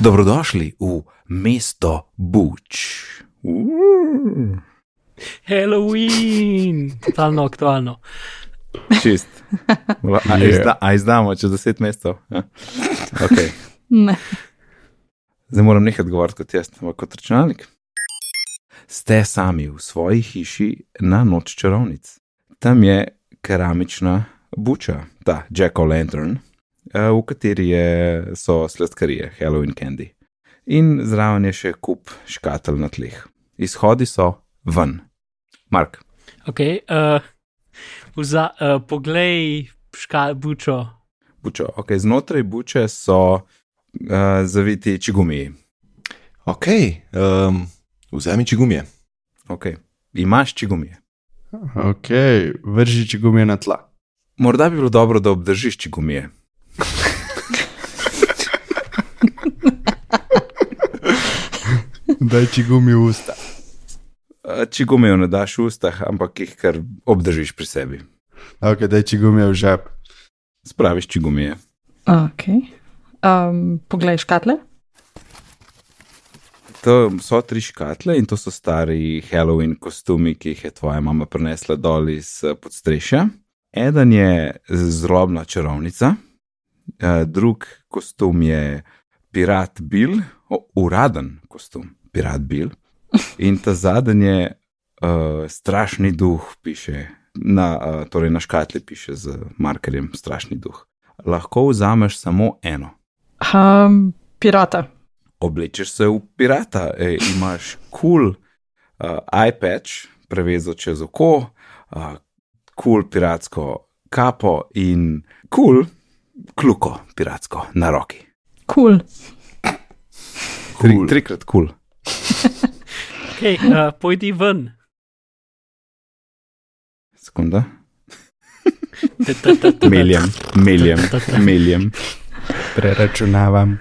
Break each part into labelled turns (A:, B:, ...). A: Dobrodošli v mesto Buč.
B: Halloween, totalno aktualno.
A: Čist. A,
C: Je.
A: izda, a izdamo čez deset mestov. Ja. Okay.
D: Ne.
A: Zdaj moram nehati govoriti kot jaz, ampak kot računalnik. Ste sami v svoji hiši na noč čarovnic. Tam je keramična buča, ta Jack O'Lantern, eh, v kateri je, so sladkarije, Halloween candy. In zraven je še kup škatel na tleh. Izhodi so ven. Mark,
B: Okay, uh, vza, uh, poglej, škal bučo.
A: bučo. Okay, znotraj buče so uh, zaviti čigumiji.
C: Ok, um, vzemi čigumije.
A: Okay. Imaš čigumije.
E: Ok, vrži čigumije na tla.
A: Morda bi bilo dobro, da obdržiš čigumije.
E: Daj čigumi v usta.
A: Eh, Če gumijo ne daš v ustah, ampak jih kar obdržiš pri sebi.
E: Ok, daj čigumije v žep.
A: Spraviš, če gumije.
D: Okay. Um, poglej, škatle.
A: To so tri škatle in to so stari Halloween kostumi, ki jih je tvoja mama prinesla dol iz eh, podstrešja. Eden je zrobna čarovnica, eh, drug kostum je pirat Bill, o, uraden kostum, pirat Bill. In ta zadnji je uh, strašni duh, piše. Na, uh, torej na škatli piše z markerjem strašni duh. Lahko vzameš samo eno.
D: Um, pirata.
A: oblečeš se v pirata, e, imaš kul cool, uh, iPad, prevezal čez oko, kul uh, cool piratsko kapo in kul cool, kluko piratsko na roki.
D: Kul. Cool.
A: Tri,
C: Cool.
A: trikrat kul. Cool.
B: Okay, uh, pojdi ven.
A: Sekunda.
B: Ta, ta, ta, ta.
A: Meljem, meljem, meljem.
E: Preračunavam.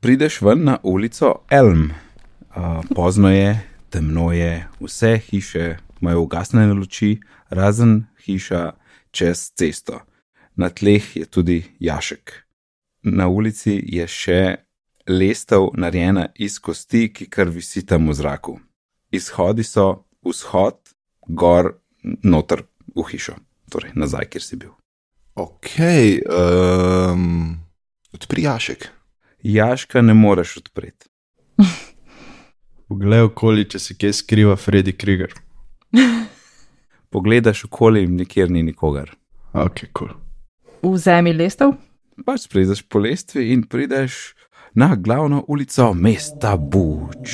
A: Prideš ven na ulico Elm. Uh, pozno je, temno je, vse hiše imajo ugasnjene luči, razen hiša čez cesto. Na tleh je tudi jašek. Na ulici je še lestev narejena iz kosti, ki kar visi tam v zraku. Izhodi so vzhod, gor, noter v hišo, torej nazaj, kjer si bil.
C: Ok, um, odpri jašek.
A: Jaška ne moreš odpreti.
E: Poglej okoli, če se kje skriva Freddy Krieger.
A: Pogledaš okoli, nikjer ni nikogar.
E: Ok, kul. Cool.
D: Vzemi lestev.
A: pač splezeš po lestvi in prideš na glavno ulico mesta Buč.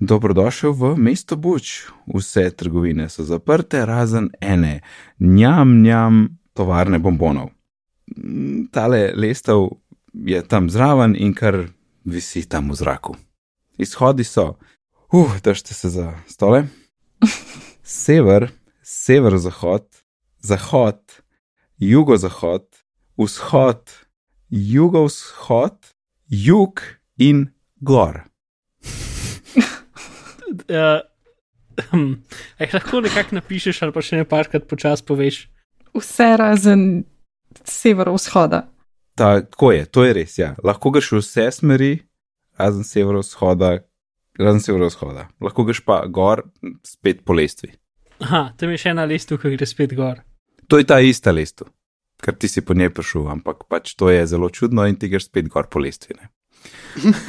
A: Dobrodošel v mesto Buč. Vse trgovine so zaprte, razen ene, njam, njam, tovarne bombonov. Mm, Tale lestev je tam zraven in kar visi tam v zraku. Izhodi so, uh, držite se za stole. Sever, severozahod, zahod, jugozahod, vzhod, jugovzhod, jug in gor.
B: Uh, hm, a jih lahko nekako napišeš, ali pa še ne parkrat počas poveš.
D: Vse razen severovzhoda.
A: Tako je, to je res. Ja. Lahko greš v vse smeri, razen severovzhoda, razen severovzhoda. Lahko greš pa gor, spet po lestvi.
B: Aha, tam je še ena lestev, ki gre spet gor.
A: To je ta ista lestev, ker ti si po njej prišel, ampak pač to je zelo čudno in ti greš spet gor po lestvi. Ne?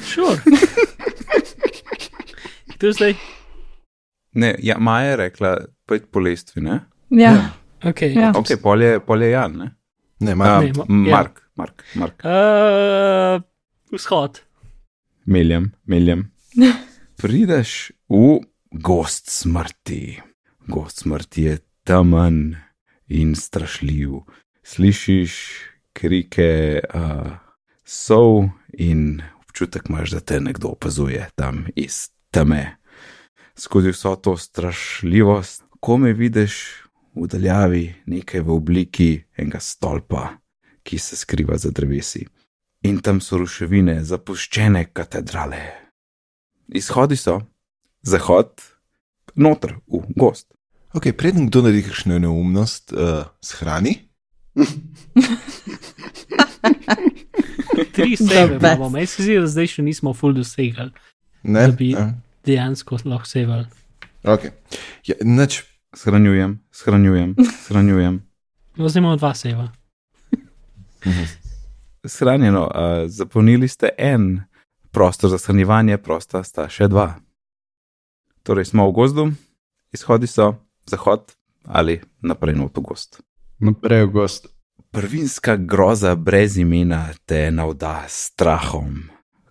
B: Šur. Kdo zdaj?
A: Ne, ja, Maja je rekla, pojdi po lestvi, ne?
D: Ja.
B: Okay.
D: Ja.
A: Ok, polje, polje Jan, ne?
C: Ne,
A: A,
C: manj.
B: Ne, ma- ja.
A: Mark, Mark, Mark.
B: Uh, vzhod.
A: Meljem, meljem. Prideš v gost smrti. Gost smrti je temen in strašljiv. Slišiš krike uh, sov in občutek imaš, da te nekdo opazuje tam iz teme. Skozi vso to strašljivost, kome vidiš v daljavi nekaj v obliki enega stolpa, ki se skriva za drevesi in tam so ruševine zapuščene katedrale. Izhodi so, zahod, noter, v gost.
C: Ok, preden kdo naredi eh, kakšno neumnost, uh, shrani.
B: Tri sebe
D: best.
B: imamo, jaz se zdi, da zdaj še nismo full dosegali,
C: Ne,
B: Da bi-
C: Ja.
B: dejansko lahko seval.
C: Okay. Ja, nič,
A: Shranjujem, shranjujem, shranjujem.
B: No, Zdaj imamo dva seva.
A: Shranjeno, uh, zapolnili ste en prostor za shranjevanje, prosta sta še dva. Torej smo v gozdu, izhodi so zahod ali naprej na avtogost.
E: Naprej No, v gost.
A: Prvinska groza brez imena te navda s strahom.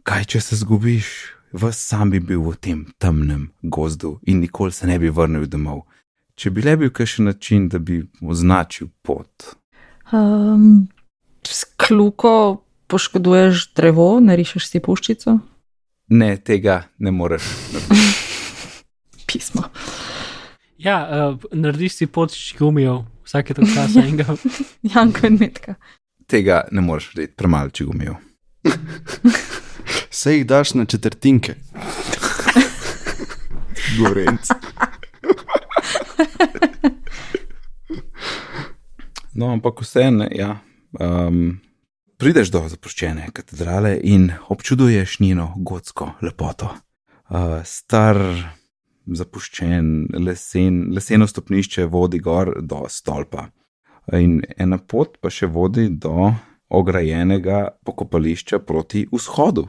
A: Kaj, če se zgubiš? Ves sam bi bil v tem temnem gozdu in nikoli se ne bi vrnil domov. Če bi le bil kakšen način, da bi označil pot.
D: Um, s kljuko poškoduješ drevo, narišeš si puščico.
A: Ne, tega ne moreš.
D: Pismo.
B: Ja, uh, narediš si pot s gumijev, vsake tako časa enega.
D: Janko in metka.
A: Tega ne moreš reči, premalo če gumijo.
E: Se jih daš na četrtinke.
C: gorenc.
A: No, ampak vseeno, ja. Um, prideš do zapuščene katedrale in občuduješ njeno gotsko lepoto. Uh, star, zapuščen, lesen, leseno stopnišče vodi gor do stolpa. In ena pot pa še vodi do ograjenega pokopališča proti vzhodu.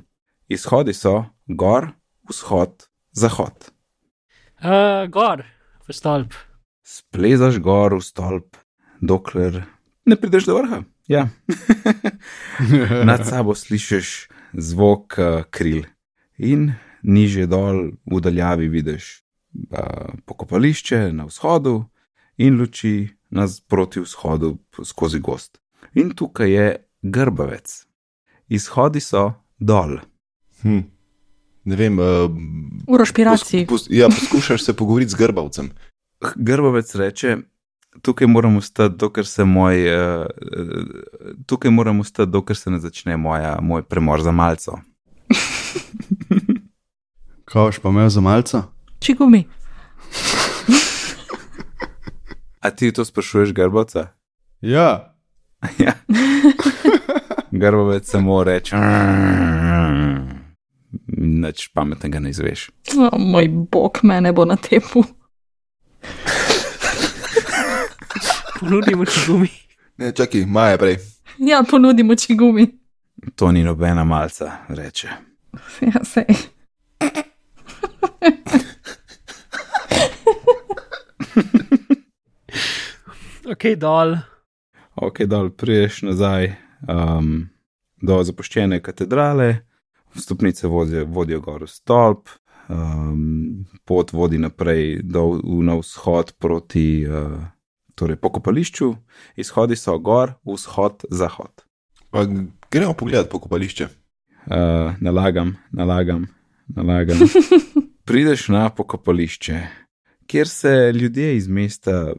A: Izhodi so gor, vzhod, zahod.
B: Uh, gor, v stolp.
A: splezaš gor v stolp, dokler ne prideš do vrha. Ja. Nad sabo slišiš zvok uh, kril in niže dol v daljavi vidiš uh, pokopališče na vzhodu in luči nas proti vzhodu skozi gost. In tukaj je grbavec. Izhodi so dol.
C: Hm. Ne vem. Uh,
D: V rašpiraciji.
C: pos, ja, poskušaš se pogovoriti z grbavcem.
A: Grbavec reče, tukaj moramo stati, dokler se moj, eh, tukaj moramo stati, dokler se ne začne moja, moj premor za malco.
E: Kaj boš pa imel za malca?
D: Čigumi.
A: A ti to sprašuješ, grbavca?
E: Ja,
A: ja. Grbavec samo reče, "Mm, nič pametnega ne izveš.
D: O, moj bog, mene bo na tepu.
B: Ponudimo ti gumi.
C: Ne, čakaj, maja prej.
D: Ja, ponudimo čigumi.
A: To ni nobena malca, reče.
D: Ja, sej.
B: Ok, dol.
A: ok, dol priješ nazaj um, do zapuščene katedrale, stopnice vodijo, vodijo gor v stolp, um, pot vodi naprej do, v- na vzhod proti uh, torej pokopališču, izhodi so gor, vzhod, zahod.
C: Pa gremo pogledat pokopališče.
A: Uh, nalagam, nalagam, nalagam. Prideš na pokopališče, kjer se ljudje iz mesta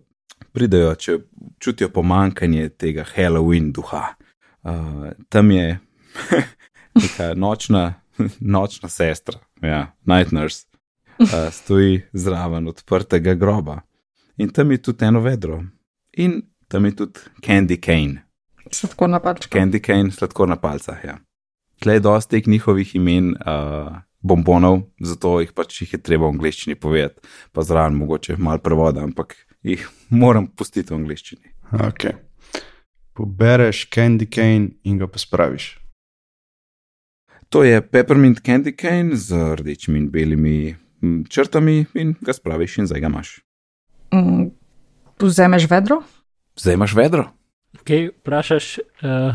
A: pridajo, če čutijo pomankanje tega Halloween duha. Uh, tam je neka nočna, nočna sestra, ja, night nurse, uh, stoji zraven odprtega groba. In tam je tudi eno vedro. In tam je tudi Candy Cane.
D: Se tako napačka.
A: Candy cane, sladkor na palcah. Ja. Tlej je dosti teh njihovih imen, uh, bombonov, zato jih pač jih je treba v angleščini povedati, pa zraven mogoče malo prevoda, ampak jih moram pustiti v angleščini.
E: ok. Pobereš candy cane in ga pospraviš.
A: To je peppermint candy cane z rdečimi in belimi mm, črtami in ga spraviš in zdaj ga imaš.
D: Mm, Vzameš vedro?
A: Zdaj imaš vedro.
B: Ok, vprašaš uh,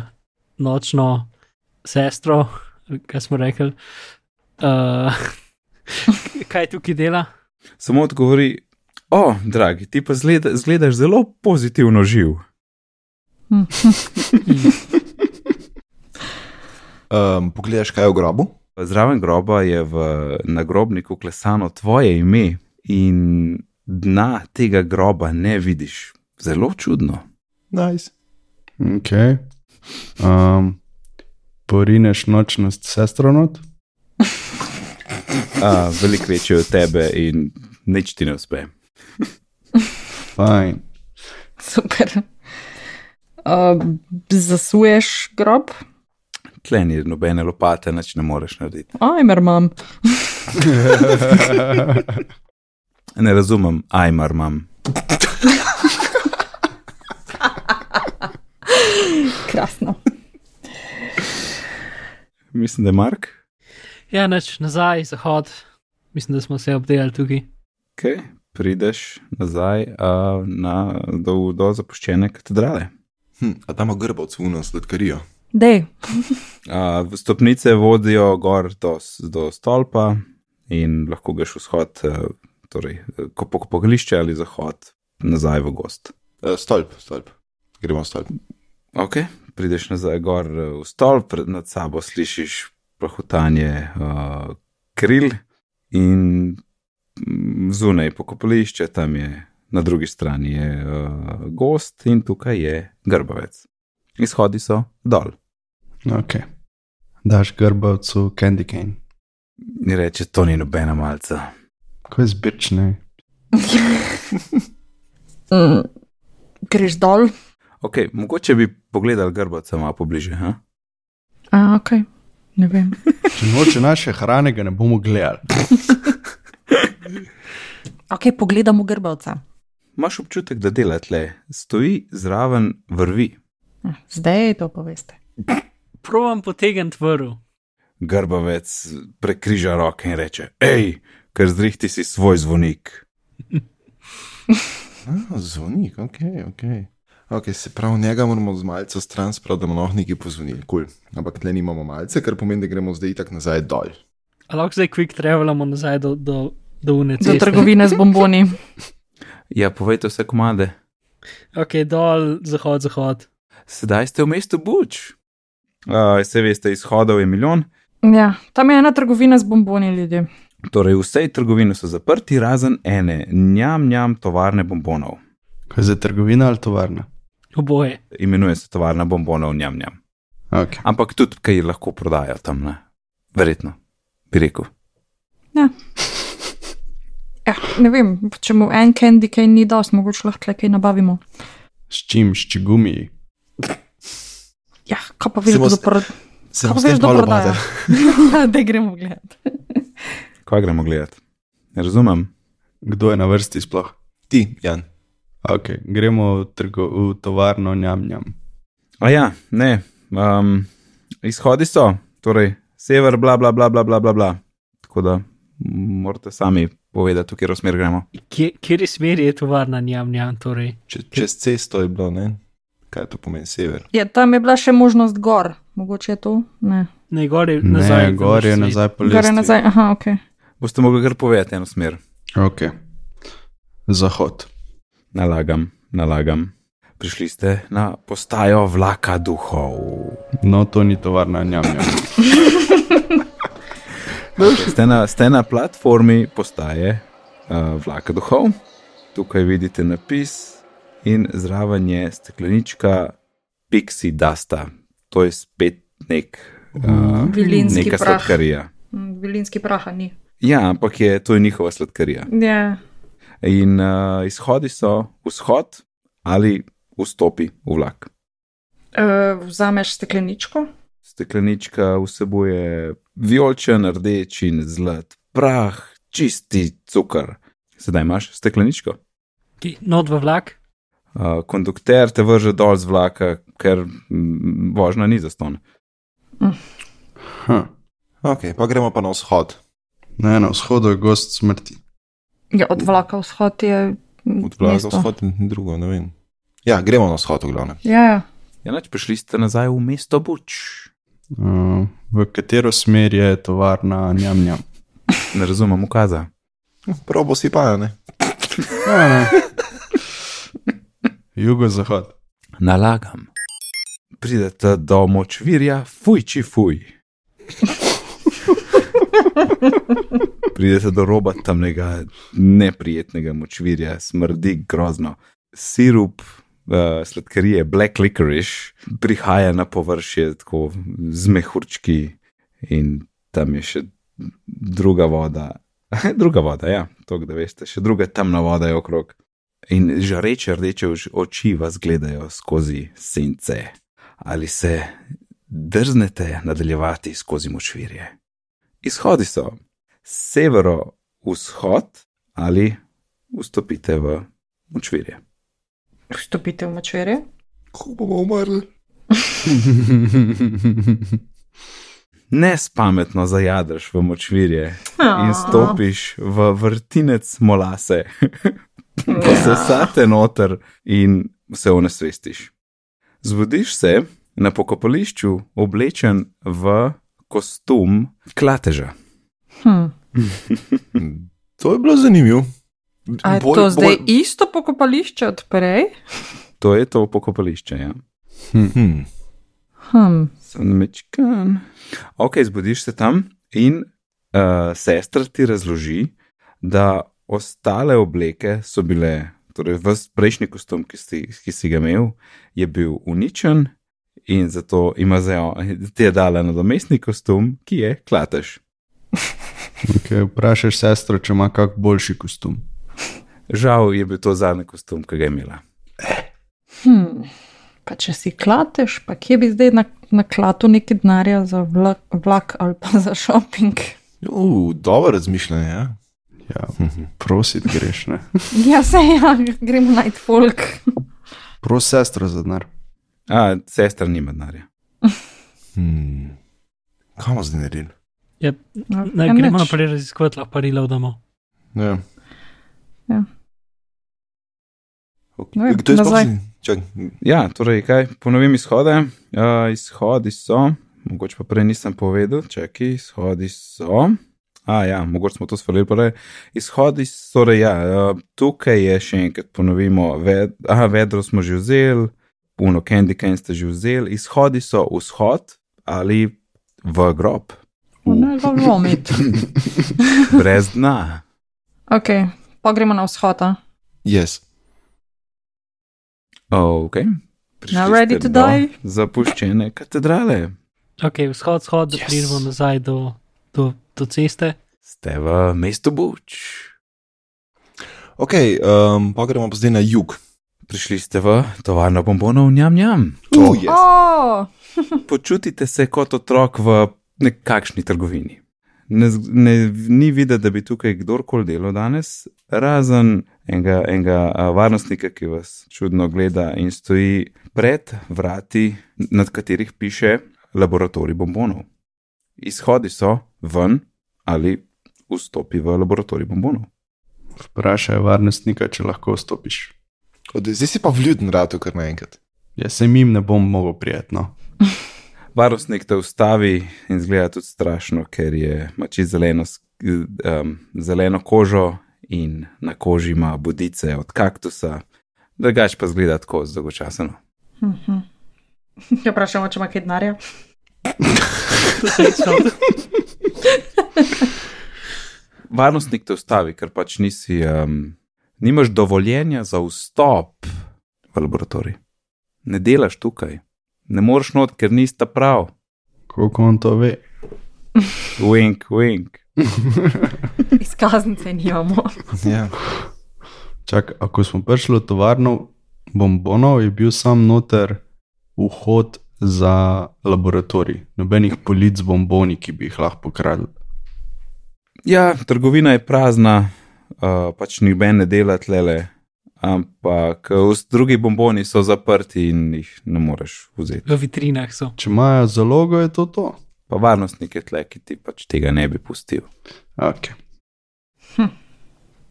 B: nočno sestro, kaj smo rekli. Uh, kaj tukaj dela?
A: Samo odgovori, o, dragi, ti pa zgleda, zgledaš zelo pozitivno živ.
C: Um, pogledaš, kaj je v grobu?
A: Zraven groba je v nagrobniku klesano tvoje ime in dna tega groba ne vidiš. Zelo čudno.
C: Nice.
E: Okay. Um, porineš nočnost sestro not,
A: A, veliko večje od tebe in nič ti ne uspe.
E: fajn.
D: Super. Uh, zasuješ grob?
A: Tle ni nobene lopate, nič ne moreš narediti.
D: Ajmer imam.
A: Ne razumem, ajmar imam.
D: Krasno.
A: Mislim, da je Mark.
B: Ja, neč nazaj, zahod. Mislim, da smo se obdelali tukaj.
A: Okay. Prideš nazaj uh, na, do, do zapuščene katedrale.
C: Hm, a tam ima grbavc vuno sladkarijo.
D: Dej,
A: Uh, stopnice vodijo gor do, s- do stolpa in lahko greš vzhod, uh, torej ko po pogorišče ali zahod, nazaj v gost.
C: Uh, stolp, stolp. Gremo stolp.
A: Ok, prideš nazaj gor eh, v stolp, pred nad sabo slišiš prahutanje uh, kril in mm, zunaj pokopališče, tam je na drugi strani je, uh, gost in tukaj je grbavec. Izhodi so dol.
E: Okay. Daš grbavcu Candy Cane,
A: In reče, to ni nobena malca.
E: ko je zbirčne.
D: mm, greš dol.
A: Ok, mogoče bi pogledali grbavca malo pobliže. Ha?
D: A, ok, ne vem.
E: Če noče naše hrane, ga ne bomo gledali.
D: Ok, pogledamo grbavca.
A: Imaš občutek, da dela tle, stoji zraven vrvi.
D: Ah, Zdaj to poveste.
B: Probam potegniti vrv.
A: Grbavec prekriža roke in reče: Hej, ker zrihti si svoj zvonik.
C: A, zvonik, ok, ok. Ok, se pravi, njega moramo z malce stran spraviti, da bomo lahko neki pozvonili. Cool. Ampak tle nimamo malce, kar pomeni, da gremo zdaj tako nazaj dol.
B: A lahko zdaj quick travelamo nazaj do, do, do
D: Za
B: unice.
D: trgovine z bomboni.
A: Ja, povejte vse komade.
B: Ok, dol, zahod, zahod.
A: Sedaj ste v mestu Buč. Uh, se veste, izhodov je milijon,
D: Ja, tam je ena trgovina z bomboni ljudi.
A: torej vse trgovine so zaprti, razen ene, njam, njam, tovarne bombonov.
E: Ko je za trgovina ali tovarna.
B: Oboje.
A: Imenuje se tovarna bombonov, njam, njam.
E: Okay.
A: Ampak tudi, kaj lahko prodajo tam, ne? verjetno, bi rekel.
D: Ja, ne vem, če mu en candy kaj ni dost, mogoče lahko tle kaj nabavimo.
E: S čim, s čigumi.
D: Ja, kaj pa veš,
C: Se bo
D: kdo
C: s-
D: pro...
C: Se
D: kaj pa
C: bom
D: veš,
C: spet
D: kdo
C: malo
D: prodaja?
C: obadal.
D: Ja, da gremo gledati.
A: Kaj gremo gledat? Ne razumem.
E: Kdo je na vrsti sploh?
C: Ti, Jan.
E: Okay. Gremo v, trgo, v tovarno njam njam.
A: A ja, ne. Um, izhodi so, torej sever, bla, bla, bla, bla, bla, bla, bla. Tako da morate sami povedati, v katero smer gremo.
B: Kje, kjer je smer je tovarna njam njam, torej.
C: Če, čez cesto je bilo, ne? Kaj to pomeni, sever?
D: Ja, tam je bila še možnost gor, mogoče je to. Ne,
B: Ne, gor je nazaj.
E: Ne,
B: da
E: gor je
B: moraš
E: nazaj po
D: gor je
E: lestvi.
D: nazaj. Aha, ok.
A: Boste mogli kar povedati eno smer.
E: Okay. Zahod.
A: Nalagam, nalagam. Prišli ste na postajo vlaka duhov.
E: No, to ni tovarna njam njam.
A: Ste na, ste na platformi postaje uh, vlaka duhov. Tukaj vidite napis in zraven je steklenička Pixie Dusta. To je spet nek. Uh,
D: Vilinski
A: Neka
D: Mhm. prah.
A: sladkarija.
D: Mm, Vilinski praha ni.
A: Ja, ampak je, to je njihova sladkarija.
D: Ja,
A: In uh, izhodi so vzhod ali vstopi v vlak.
D: uh, vzameš stekleničko.
A: Steklenička vsebuje vijolčen, rdeč in zlat prah, čisti cukor. Sedaj imaš stekleničko.
B: Ki- Not v vlak.
A: Uh, kondukter te vrže dol z vlaka, ker mm, vožnja ni zaston.
E: Huh.
C: Ok, pa gremo pa na vzhod.
E: Ne, na vzhodu je gost smrti.
D: Ja, od vlaka vzhod je. mm,
C: Od vlaka
D: mesto.
C: vzhod in drugo, ne vem. Ja, gremo na vzhod, v glavnem.
D: Ja, ja.
A: Ja, nač prišli ste nazaj v mesto Buč.
E: Uh, v katero smer je tovarna njam njam?
A: Ne razumem ukaza.
C: Probo si pa, ne?
E: Ja, ne. Jugozahod.
A: Nalagam. Pridete do močvirja, fujči fuj. Pridete do roba tamnega neprijetnega močvirja, smrdi grozno. Sirup uh, sladkarije Black Licorice prihaja na površje tako z mehurčki in tam je še druga voda. druga voda, ja, to da veste, še druga temna voda je okrog. In žareče rdeče ož- oči vas gledajo skozi sence. Ali se drznete nadaljevati skozi močvirje. Izhodi so severo-vzhod ali vstopite v močvirje.
D: Vstopite v močvirje.
C: Ko bomo umrli?
A: Nespametno zajadrš v močvirje in stopiš v vrtinec molase, posesate noter in se onesvestiš. Zbudiš se na pokopališču, oblečen v kostum klateža.
D: Hm.
C: To je bilo zanimivo.
D: A je to zdaj isto pokopališče od prej?
A: To je to pokopališče, ja.
C: Hm.
D: Hm.
A: Sandvičkan. Ok, zbudiš se tam in uh, sestra ti razloži, da ostale obleke so bile, torej vse prejšnji kostum, ki si, ki si ga imel, je bil uničen in zato ima zdaj on- ti je dala nadomestni kostum, ki je klatež.
E: Okay, vprašaj sestro, če ima kak boljši kostum.
A: Žal je bil to zadnji kostum, ki ga je imela.
D: Hm. Pa če si klateš, pa kje bi zdaj na, na klatu neki denarja za vlak, vlak ali pa za šoping?
C: Uh, dobro razmišljanje. Ja?
E: Ja, prosit greš, ne?
D: Ja, se ja, gremo najti folk.
E: Prosi sestro za denar.
A: A, sestra nima denarja.
C: Hmm. Kaj bomo zdaj naredili?
B: Ja,
D: No,
B: ne,
D: ja,
B: gremo
D: nič.
B: naprej raziskovati, lahko parila vdamo.
C: Ja.
D: Ja.
C: Ok,
D: No, ja,
C: Kdo je
D: nazaj.
C: sploh? Čak,
A: Ja, torej, kaj ponovim izhode. Uh, izhodi so, mogoče pa prej nisem povedal, čakaj, izhodi so. A ja, mogoče smo to stvarili prej. Izhodi so, torej, ja, uh, tukaj je še enkrat ponovimo, ved, aha, vedro smo že vzeli, puno candy cane ste že vzeli, izhodi so vzhod ali v grob,
D: Ne, ga vomit.
A: brez dna.
D: Ok, pa gremo na vzhod. a?
C: yes.
A: Ok. prišli
D: Now ready
A: ste
D: to
A: do
D: die.
A: Zapuščene katedrale.
B: Ok, vzhod, vzhod, da
E: Yes.
B: yes. pridemo nazaj do, do, do ceste.
A: Ste v mestu Buč.
C: Ok, um, pa gremo pa zdaj na jug.
A: Prišli ste v tovarno bombonov, njam, njam.
C: To je.
D: O,
A: Počutite se kot otrok v nekakšni trgovini. Ne, z- ne, ni videti, da bi tukaj kdorkoli delal danes, razen enega, enega a, varnostnika, ki vas čudno gleda in stoji pred vrati, nad katerih piše laboratorij bombonov. Izhodi so ven ali vstopi v laboratorij bombonov.
E: Vprašaj varnostnika, če lahko vstopiš.
C: Od, zdaj si pa vljuden rado kar naenkrat.
E: Jaz se jim ne bom mogel no. prijetno.
A: Varnostnik te ustavi in zgleda tudi strašno, ker je mači zeleno, um, zeleno kožo in na koži ima budice od kaktusa, drugač pa zgleda tako zdolgočasno.
D: ja, vprašamo, če ima kaj denarja.
A: Varnostnik te ustavi, ker pač nisi, um, nimaš dovoljenja za vstop v laboratorij. Ne delaš tukaj, ne moreš not, ker nisi ta prav.
E: Kako on to ve?
A: Wink, wink.
D: Izkaznice nimamo.
C: Ja.
E: Čak, ako smo prišli v tovarno bombonov, je bil sam noter vhod za laboratorij. Nobenih polic z bomboni, ki bi jih lahko pokradli.
A: Ja, trgovina je prazna, uh, pač noben ne dela tlele, ampak eh, vs- drugi bomboni so zaprti in jih ne moreš vzeti.
B: V vitrinah so.
E: Če imajo zalogo, je to to.
A: Pa varnostnik je tle, ki ti pač tega ne bi pustil.
E: Okay.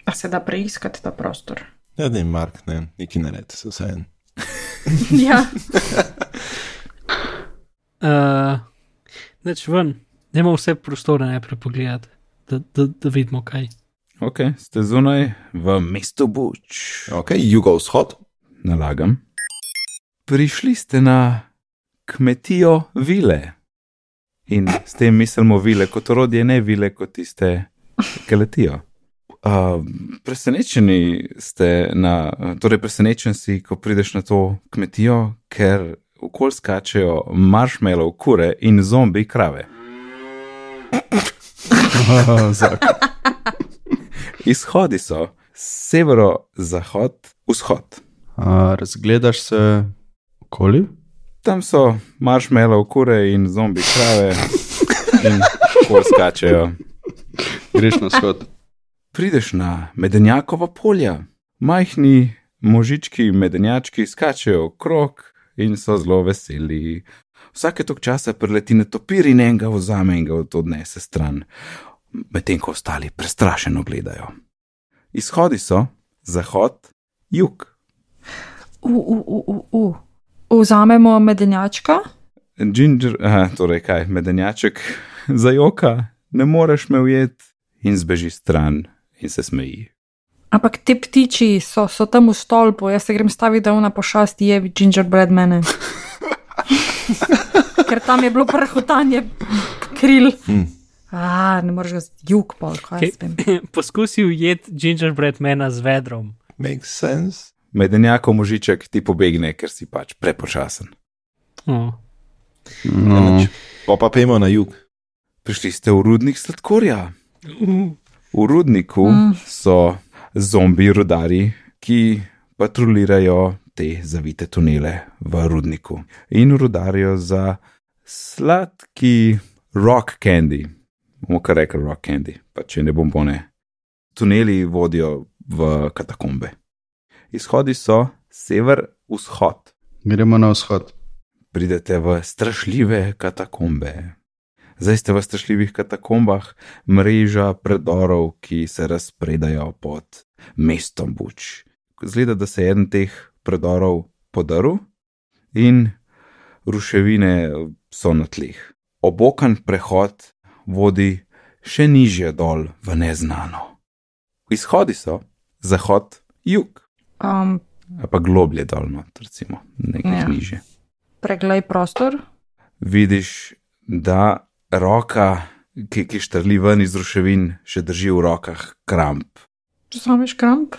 D: A se da preiskati ta prostor?
C: Ja, da je Mark, ne, neki nared, se vse en.
D: ja.
B: Uh, Neč ven, dajmo vse prostore najprej pogledati, da, da, da vidimo kaj.
A: Ok, ste zunaj v mestu Buč.
C: Ok, jugovzhod.
A: Nalagam. Prišli ste na kmetijo vile. In s tem mislimo vile kot orodje, ne vile kot tiste, ki letijo. Uh, presenečeni ste, na, torej presenečen si, ko prideš na to kmetijo, ker okol skačejo marshmallow kure in zombi krave. Izhodi so severo-zahod, vzhod.
E: Razgledaš se okoli?
A: Tam so marshmallow kure in zombi krave in kol skačejo.
E: Greš na shod.
A: Prideš na medenjakova polja. Majhni možički medenjački skačejo krok in so zelo veseli. Vsake tok časa preleti na topir in enega vzame in ga od- odnese stran, medtem ko ostali prestrašeno gledajo. Izhodi so zahod, jug.
D: U, u, u, u, u. Vzamemo medenjačka,
A: Ginger, aha, torej kaj, medenjaček zajoka, ne moreš me ujet in zbeži stran in se smeji.
D: ampak te ptiči so, so tam v stolpu, jaz se grem staviti, da ona pošasti je gingerbread mene. Ker tam je bilo prhutanje kril.
C: Mm.
D: A, ne moreš ga jug pol, kaj jaz vem.
B: Poskusil je gingerbread mena z vedrom.
C: Makes sense.
A: Medenjakov možiček ti pobegne, ker si pač prepočasen.
B: Oh.
E: No,
C: Pa pa pojmo na jug.
A: Prišli ste v rudnik sladkorja.
B: Uh,
A: V rudniku
D: Mm.
A: so zombi rodari, ki patrulirajo te zavite tunele v rudniku in rodarijo za sladki rock candy. Bomo kar rekli rock candy, pa če ne bombone. Tuneli vodijo v katakombe. Izhodi so sever-vzhod.
E: gremo na vzhod.
A: Pridete v strašljive katakombe. Zdaj ste v strašljivih katakombah, mreža predorov, ki se razpredajo pod mestom Buč. Zgleda, da se je eden teh predorov podaril in ruševine so na tleh. Obokan prehod vodi še nižje dol v neznano. Izhodi so zahod, jug,
D: Um,
A: ali pa globlje dol, not, recimo, nekaj
D: Ja.
A: ja. niže
D: preglej prostor.
A: vidiš, da roka, ki, ki štrli ven iz ruševin, še drži v rokah kramp.
D: Vzameš kramp,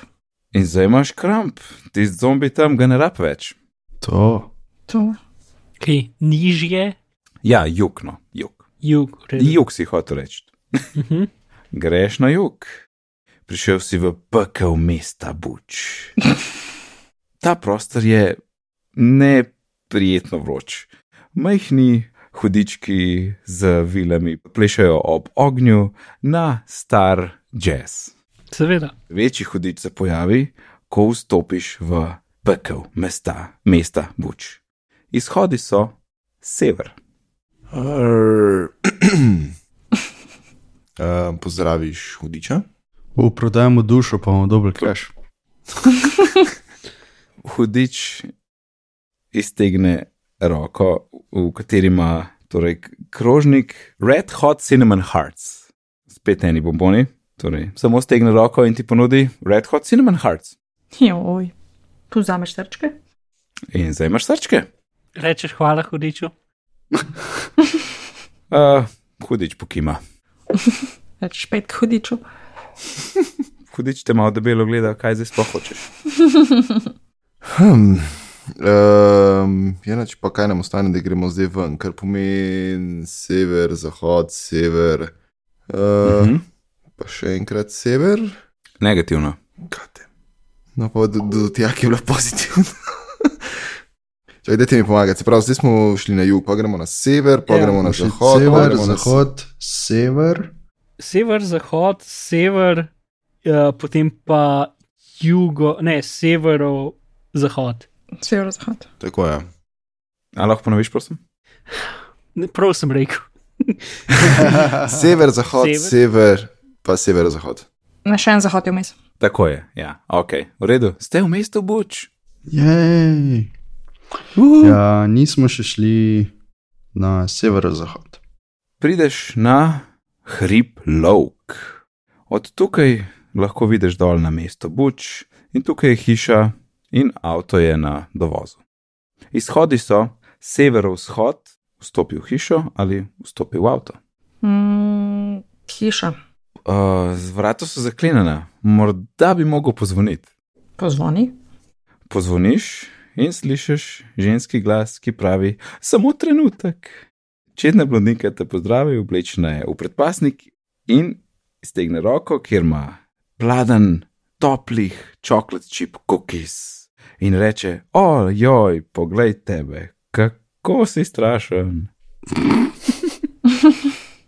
A: In zdaj imaš kramp, ti zombi tam ga ne rab več.
E: To.
D: to.
B: kaj, nižje,
A: Ja, jugno, jug.
B: jug. v redu.
A: Jug si hotel reči.
B: Mhm.
A: Greš na jug. Prišel si v pekel mesta Buč. Ta prostor je neprijetno vroč. Majhni hudički z vilami plešajo ob ognju na star jazz.
B: Seveda.
A: Večji hudič se pojavi, ko vstopiš v pekel mesta, mesta Buč. Izhodi so sever.
C: Arr. Uh, pozdraviš hudiča.
E: U, prodajamo dušo, pa bomo dobili cash.
A: hudič iztegne roko, v kateri ima torej, k- krožnik Red Hot Cinnamon Hearts, spet eni bomboni. Torej, samo stegne roko in ti ponudi Red Hot Cinnamon Hearts.
D: Joj. Tu vzameš srčke.
A: In zdaj imaš srčke.
B: Rečeš hvala hudiču.
A: Uh, hudič pokima.
D: Več pet hudiču.
A: Hudič te malo debelo gleda, kaj zdaj sploh hočeš.
C: Hm. Um, je nač pa kaj nam ostane, da gremo zdaj ven, kar pomeni sever, zahod, sever. Uh,
A: Mhm.
C: Pa še enkrat sever.
A: Negativno.
C: Kate. No, pa do, do tega, ki je bila pozitivna. Čakaj, dajte mi pomagati. Se pravi, zdaj smo šli na jug, pa gremo na sever, pa ja,
E: Ja,
C: gremo na
E: še
C: zahod, pa
E: Sever,
C: gremo na
E: zahod,
C: zahod.
E: sever.
B: Sever, zahod, sever, uh, potem pa jugo, ne, severo, zahod.
D: Severozahod.
C: Tako je.
A: A lahko ponoviš, prosim?
B: Ne, Prav sem rekel.
C: Sever, zahod, sever,
B: Sever.
C: sever pa sever, zahod.
D: Na še en zahod je vmes.
A: Tako je, ja, ok, v redu. Ste v mestu Buč.
E: Jej.
A: Uh.
E: Ja, nismo še šli na severozahod.
A: prideš na hrib Lovk. Od tukaj lahko vidiš dol na mesto Buč in tukaj je hiša in avto je na dovozu. Izhodi so severovzhod, vstopi v hišo ali vstopi v avto.
D: Mm, hiša.
A: Uh, vrata so zaklenjena, morda bi mogel pozvoniti.
D: Pozvoni.
A: Pozvoniš in slišiš ženski glas, ki pravi: Samo trenutek. Čedna blondinka te pozdravi, oblečena je v predpasnik in iztegne roko, kjer ima pladen, toplih čokolad čip cookies. In reče: Ojoj, poglej tebe, kako Ko si strašen.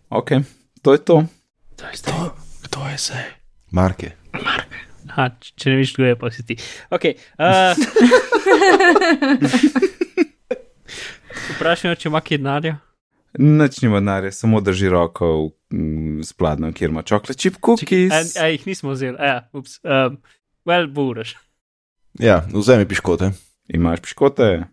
A: ok, to je to.
B: To je to.
E: Kdo je zdaj?
C: Marke.
B: Aha, če- če ne veš, kdo je, pa si ti. Okay, uh, Vprašaj, če ima kje denarja.
A: Nič nima denarja, samo drži roko v, mm, s pladnjem, kjer ima čokolad chip cookies.
B: A, a jih nismo vzeli, ja, ups. Um, well, bo uraš.
C: Ja, vzemi piškote.
A: Imaš piškote,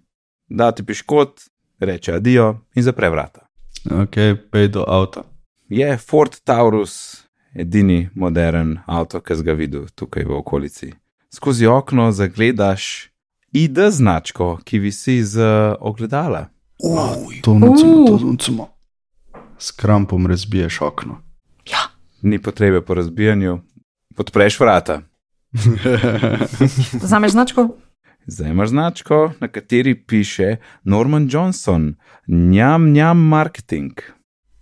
A: da ti piškot, reče adijo in zapre vrata.
E: Ok, pej do avta.
A: Je Ford Taurus edini modern avto, ki si ga videl tukaj v okolici. Skozi okno zagledaš ID značko, ki visi z ogledala.
E: To
D: Uh.
E: nucimo, to nucimo. S krampom razbiješ okno.
A: Ni potrebe po razbijanju, podpreš vrata.
D: Zameš značko?
A: Zdaj imaš značko, na kateri piše Norman Johnson, njam, njam marketing.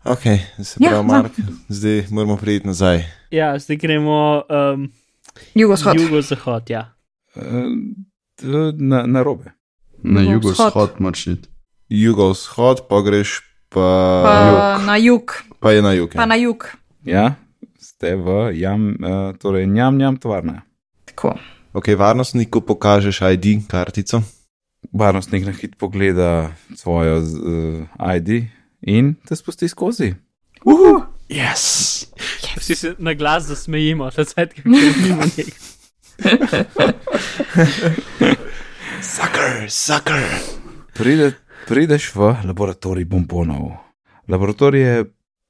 C: Ok, se
D: Ja,
C: pravi, ja,
D: za-
C: Mark, zdaj moramo priti nazaj.
B: Ja, zdaj gremo um,
D: Jugoslavij.
B: jugo-zahod. Ja.
A: Eh, t- Na, na robe.
E: Na
D: Jugov
E: jugosvod
D: vzhod.
E: moraš iti.
C: Jugovzhod, pa greš pa,
D: Pa na jug,
C: pa je na jug.
D: pa
C: ja.
D: na jug.
A: Ja, ste v jam, eh, torej njam, njam tovarna.
D: Tako.
C: Ok, varnostniku pokažeš ID kartico.
A: Varnostnik na hit pogleda svojo uh, ID in te spusti skozi.
D: Uhu.
E: Yes!
B: Vsi se na glas zasmejimo, da se tega ne vidimo.
C: Sucker, sucker.
A: Pride, prideš v laboratorij bombonov. Laboratorij je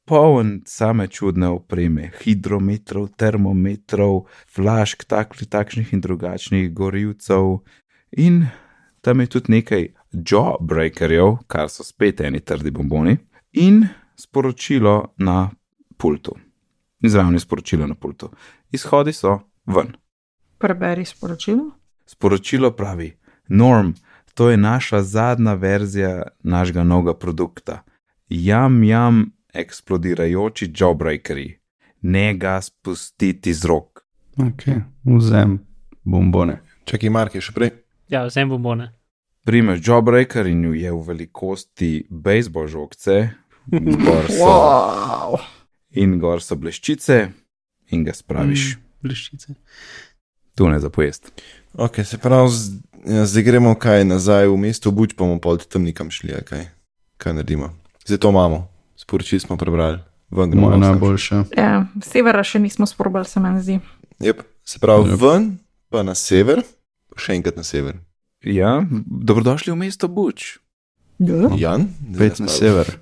A: poln same čudne opreme, hidrometrov, termometrov, flašk, tak, takšnih in drugačnih gorivcev. In tam je tudi nekaj jawbreakerjev, kar so spet eni trdi bomboni, in sporočilo na pultu. Izravno je sporočilo na pultu. Izhodi so ven.
D: Preberi sporočilo.
A: Sporočilo pravi: Norm, to je naša zadnja verzija našega novega produkta. Jam, jam, eksplodirajoči jawbreakeri. Ne ga spustiti z rok.
E: Ok, vzem bombone.
C: Čakaj, Mark je še prej.
B: Ja, vsem bombone.
A: Primeš jawbreaker in ju je v velikosti bejzbol žogce, gor so,
D: Wow.
A: in gor so bleščice, in ga spraviš.
B: Bliščice.
A: Tu ne zapojest.
C: Ok, se pravi, z- ja, zdaj gremo kaj nazaj v mesto, buč pa bomo pol tam nekam šli, a kaj, kaj naredimo. Zdaj to imamo, sporočili smo prebrali, ven gremo.
E: Moja
C: lahko.
E: najboljša.
D: Ja, severa še nismo sprobali, se meni zdi.
C: Jep, se pravi,
E: Jep.
C: yep. ven, pa na sever, pa še enkrat na sever.
A: Ja, dobrodošli v mesto Buč.
D: Ja.
C: Jan,
E: Pet na sever.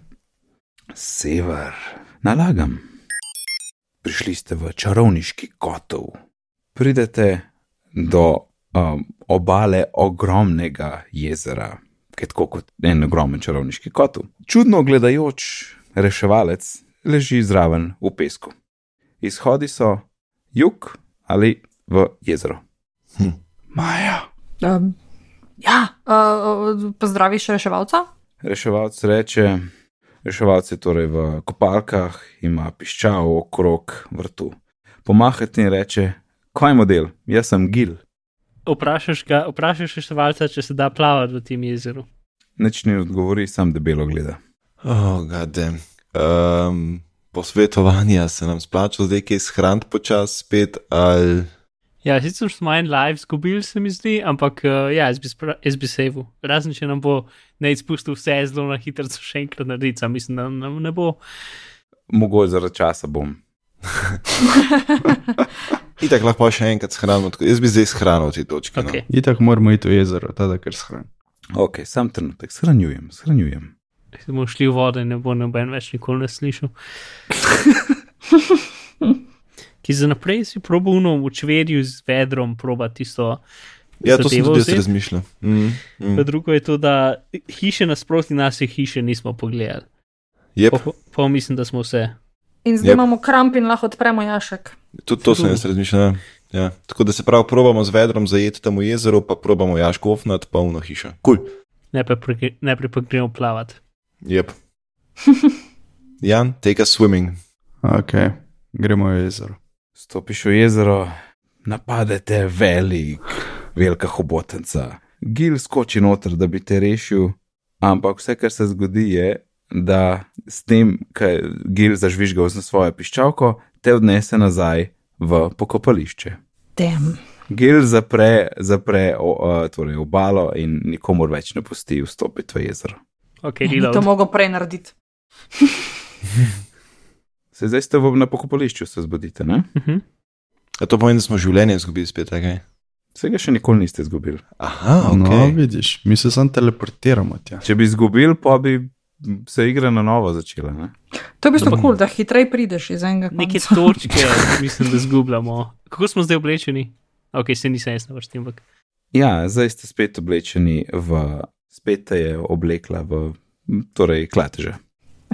A: Sever, nalagam. Prišli ste v čarovniški kotov. Pridete do um, obale ogromnega jezera, ki je tako kot en ogromen čarovniški kotov. Čudno gledajoč reševalec leži zraven v pesku. Izhodi so jug ali v jezero.
E: Maja.
D: Um, ja. Uh, pozdraviš reševalca?
A: Reševalc reče, reševalc je torej v kopalkah, ima piščal okrog vrtu. Pomahati in reče, kaj je model, jaz sem Gil,
B: Vprašaš ga, vprašaš reševalca, če se da plavati v tem jezeru.
A: nič ne odgovori, sam debelo gleda.
C: Oh, gadem. Um, posvetovanja se nam splača, zdaj kaj shraniti počas spet ali.
B: Ja, sicer smo en live izgubili, se mi zdi, ampak uh, ja, jaz bi, spra- jaz bi sevu. Razen, če nam bo ne izpustil vse zelo na hitro, so še enkrat narediti, sam mislim, da nam ne bo.
A: Mogoče zaradi časa bom.
C: Itak lahko še enkrat shranimo, tako- jaz bi zdaj shranil te točke.
B: Okay.
C: No.
E: Itak moramo iti v jezero, tada ker shran.
A: Ok, sam trenutek, shranjujem, shranjujem.
B: Če bomo šli v vodo, ne bo noben več nikoli ne slišal. Ki za naprej si probovno v čverju z vedrom proba tisto.
C: Ja, to sem
B: zadevo
C: tudi jaz
B: vzeti.
C: razmišljal. Mm, mm.
B: Pa Drugo je to, da hiše nasproti nas je hiše nismo pogledali.
C: Yep,
B: Pa- Pa mislim, da smo vse.
D: In zdaj yep.
C: Jep.
D: imamo kramp in lahko odpremo jašek.
C: tudi to sem jaz razmišljal. ja. Ja. Tako da se pravi, probamo z vedrom zajeti tam v jezero, pa probamo jaško ofnat, pa uno hišo. Kul. Cool.
B: Najprej pre- najprej pa gremo plavati.
C: Yep. Jan, take a swimming.
E: Ok, gremo v jezero.
A: Stopiš v jezero, napadete velik, velika hobotnica. Gil skoči noter, da bi te rešil, Ampak vse, kar se zgodi, je, da s tem, kar Gil zažvižgal z svojo piščalko, te odnese nazaj v pokopališče.
D: Tem.
A: Gil zapre, zapre o, o, torej obalo in nikomor več ne pusti vstopiti v jezero.
B: Okay,
D: Ni Mhm, to mogel prej narediti.
A: Se zdaj ste v- na pokopališču, se zbudite, ne?
B: Mhm.
C: A to pomeni, da smo življenje izgubili spet, a kaj?
A: Vsega še nikoli niste izgubili.
C: Aha,
E: Okay. No,
C: ok.
E: vidiš, mi se samo teleportiramo tja.
A: Če bi izgubili, pa bi se igra na novo začela. Ne?
D: To je v bistvu
B: Da bo-
D: kul, cool, da hitreje prideš iz enega.
B: Neke
D: konca.
B: točke, mislim, da zgubljamo. Kako smo zdaj oblečeni? Ok, se nisem jaz na vrsti, ampak
A: Ja, zdaj ste spet oblečeni v, spet te je oblekla v, torej, klateže.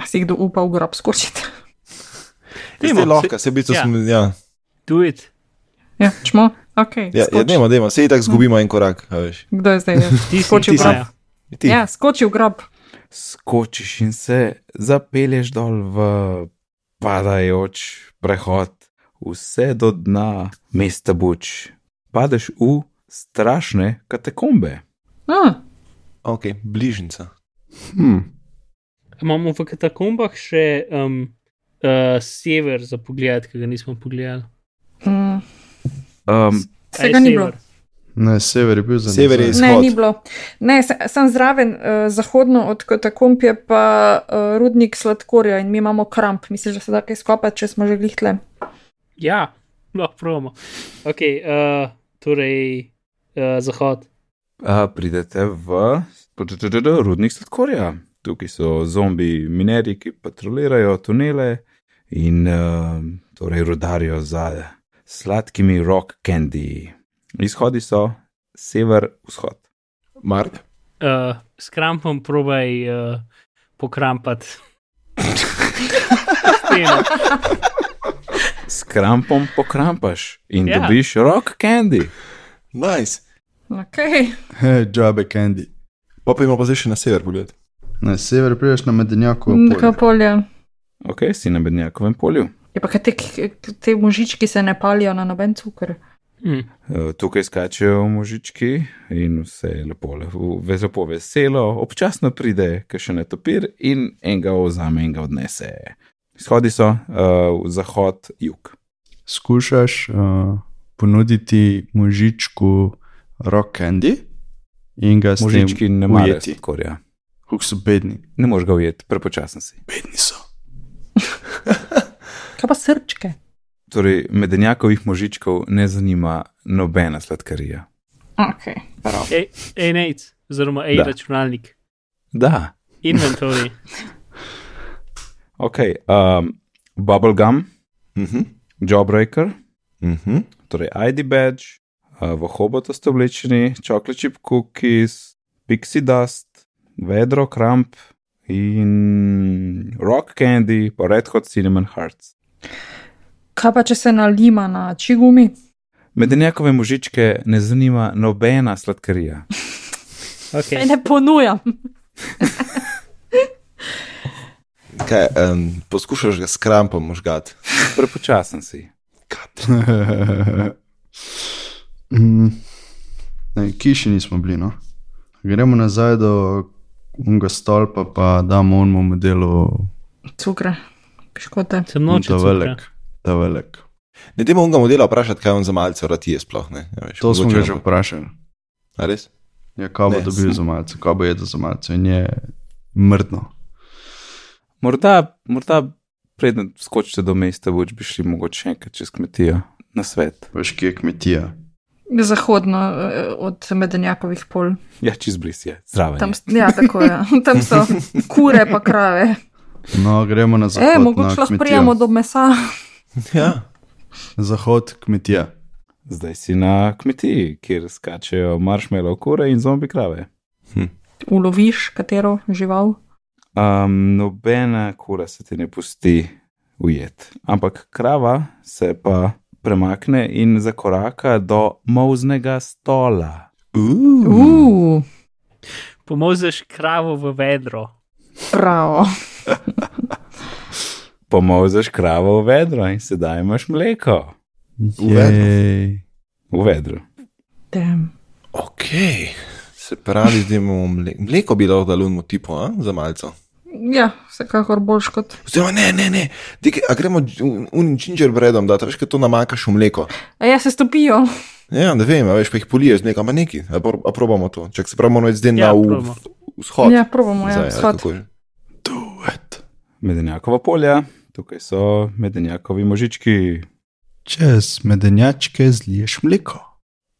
D: A si kdo upa v grob skočiti?
C: Ste lahko, se bi to
B: ja.
C: smo. Ja,
B: do it.
D: Ja, čmo, ok.
C: ja, ja
D: skoči.
C: dajmo, dajmo, se itak zgubimo en korak, a veš.
D: Kdo je zdaj?
B: Ti si
D: Skočil
B: ti
C: sem.
B: Ja.
C: Ti.
D: Ja, skoči v grob.
A: Skočiš in se zapelješ dol v padajoč prehod, vse do dna mesta Buč. Padeš v strašne katakombe.
D: Ah,
C: Ok, bližnjica.
E: Hm.
B: Imamo v katakombah še um, uh, sever za pogled, ki ga nismo pogledali.
D: mm,
A: Um,
B: Kaj je
D: Vsega ni
B: sever?
E: Ne, sever je bil za
C: Sever je
E: nazaj.
D: ne,
C: Izhod.
D: ni bilo. Ne, se- sem zraven, uh, zahodno od katakomb je pa uh, rudnik sladkorja in mi imamo kramp. Misliš, da se da kaj skopati, če smo že glihle?
B: Ja, lahko promo. Ok, uh, torej uh, zahod.
A: A, pridete v PTTD rudnik sladkorja. Tukaj so zombi minerji, ki patrolirajo tunele in uh, torej rodarijo za sladkimi rock candy. Izhodi so sever-vzhod.
C: Mark?
B: Uh, s krampom probaj uh, pokrampati. Steno.
A: S krampom pokrampaš in
B: Ja.
A: yeah. dobiš rock candy.
C: Nice.
D: Okay.
E: He, džabe candy.
C: Pa pa imamo pa zdaj še na sever pogled.
E: Na sever prideš na medenjaku.
D: Tako Mm, polje.
A: Ok, si na bednjakovem polju.
D: Je pa kaj te, te možički se ne palijo na noben cukor.
B: Hm.
A: Eh, Tukaj skačejo možički in vse je lepo, lepo, ve- lepo veselo, občasno pride kakšen netopir in enega ozame in ga odnese. Izhodi so uh, v zahod, jug.
E: Skušaš uh, ponuditi možičku rock candy in ga s
A: Možički
E: tem
A: ne morejo
E: ujeti.
A: sladkorja.
E: Kako so bedni.
A: Ne moreš ga ujeti, prepočasen si.
E: Bedni so.
D: Kaj pa srčke?
A: Torej, medenjakovih možičkov ne zanima nobena sladkarija.
D: Okay.
B: Ej, ej, nec, oziroma ej,
A: Da.
B: računalnik.
A: Da,
B: Inventory.
A: ok. Um, Bubblegum,
C: Mhm.
A: Jawbreaker,
C: Mhm.
A: torej ID badge, eh, v hobotu ste oblečeni, chocolate chip cookies, pixie dust, vedro, kramp in rock candy, pa red hot cinnamon hearts.
D: Kaj pa, če se nalima na čigumi?
A: Medenjakove možičke ne zanima nobena sladkarija.
D: Kaj
B: Okay.
D: ne ponujam.
C: Kaj, um, poskušaš ga s krampom možgati.
A: Prepočasen si.
E: Mm, ne, Kiši nismo bili. No? Gremo nazaj do unga stolpa, pa damo onemu modelu,
D: Cukre, piškote.
B: Sem noč.
E: ta velik. Ta velik.
C: Ne dajmo unga modela vprašati, kaj on za malce vrati je sploh. Ne? Ja, veš,
E: To smo
C: mogoče
E: ga
C: nam
E: že
C: bo-
E: vprašali.
C: A res?
E: Ja, kaj bo
C: Ne,
E: dobil
C: sem-
E: za malce, kaj bo jedel za malce in je mrdno.
A: Morda, morda preden skočite do mesta, boč bi šli mogoče enkrat čez kmetijo na svet.
E: Veš, kje je kmetija.
D: Zahodno eh, od medenjakovih pol.
A: Ja, čez bris je, zraven.
D: Tam,
A: je.
D: s- ja, tako je. Tam so kure pa krave.
E: No, gremo na zahod.
D: E,
E: na
D: mogoče lahko
E: kmetijo.
D: prijemo do mesa.
C: Ja.
E: Zahod kmetija.
A: Zdaj si na kmetiji, kjer skačejo marshmallow kure in zombi krave.
D: Uloviš katero žival.
A: Um, nobena kura se ti ne pusti ujet. Ampak krava se pa premakne in zakoraka do moznega stola.
D: Mm. Uuu,
B: Pomozeš kravo v vedro.
D: prav.
A: Pomožeš kravo v vedro in sedaj imaš mleko
E: Jej.
A: v vedru.
D: Damn.
C: Ok, Se pravi, zdaj imamo mleko. Mleko bi lahko dal unmo tipu, a? za malce.
D: Ja, vsekakor boljš kot.
C: Oziroma, ne, ne, ne. Dike, a gremo dž- un- unim gingerbreadom, da veš, kaj to namakaš v mleko.
D: A ja, se stopijo.
C: Ja, ne vem, a veš, pa jih poliješ z mlekom, a neki. A, por, a probamo to. Čak se pravi, moramo iti zdaj
B: Ja,
C: na v,
B: probamo.
C: vzhod.
D: Ja, probamo, ja,
C: Zdaj, ali
D: vzhod.
C: kako že?
E: Do it.
A: Medenjakova polja, tukaj so medenjakovi možički.
E: Čez medenjačke zliješ mleko.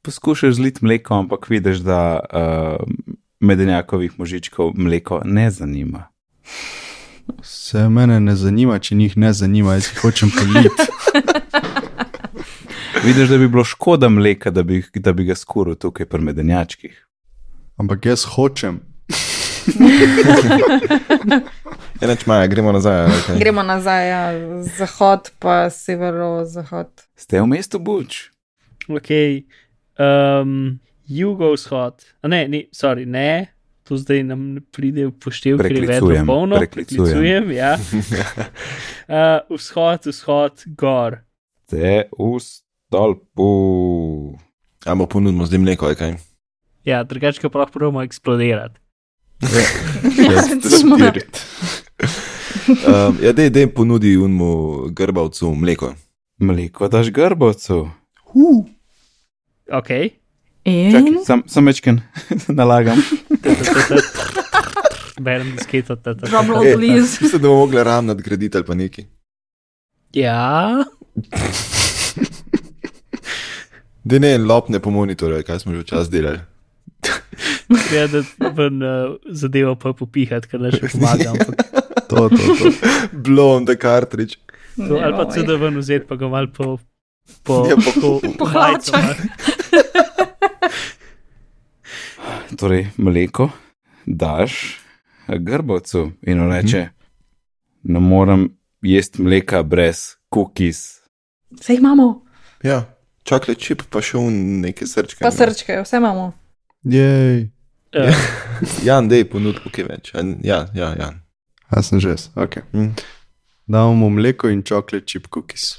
A: Poskušaš zliti mleko, ampak vidiš, da uh, medenjakovih možičkov mleko ne zanima.
E: Se mene ne zanima, če njih ne zanima, jaz jih hočem politi.
A: Vidiš, da bi bilo škoda mleka, da bi, da bi ga skuril tukaj pri medenjačkih.
E: Ampak jaz hočem.
C: Enač Ja, maja, gremo nazaj. ali kaj?
D: Gremo nazaj, ja, zahod pa severo-zahod.
A: Ste v mestu Buč?
B: Ok, um, jugovzhod. A Ne, ne, sorry, ne, to zdaj nam ne pride v poštev, ker je vedno
A: Preklicujem,
B: polno.
A: preklicujem.
B: preklicujem ja. uh, vzhod, vzhod, gor.
A: Ste v stolpu.
C: A mu ponudimo zdaj mleko, ali kaj.
B: Ja, drugače pa lahko probamo eksplodirati.
D: Ja, recimo.
C: Um, ja, dej, dej ponudi unmu grbavcu mleko.
A: Mleko daš grbovcu.
B: Ok,
A: Čakaj,
D: In
A: sam, sam večken nalagam.
B: berem disketo. ta, ta, ta, ta.
D: Dobro,
C: Ej,
D: blizu.
C: Mislim, da bomo mogli ram nadgraditi ali pa neki.
B: Ja,
C: Da ne, lopne po monitorju, kaj smo že včasih delali.
B: treba Ja, da ven uh, zadevo pa popihati, ker ne še pomaga. ampak
E: To, to, to.
C: Blond, da kartrič.
B: To,
D: Ja,
B: ali pa CD ven vzeti, pa ga mal po. Po,
C: Ja, po-
B: po,
D: po
B: majico,
D: hlačah.
B: ne.
A: Torej, mleko daš grbovcu in on reče: Ne morem jesti mleka brez kukis.
D: Vse imamo,
C: Ja, čakle čip, pa še un neke srčke.
D: pa srčke, vse imamo.
E: Jej.
B: Eh,
C: Jan, dej ponudi, kaj več. A, Ja, ja, ja.
E: Jaz sem že, ok.
C: Mm.
E: Damo mu mleko in čokolad chip cookies.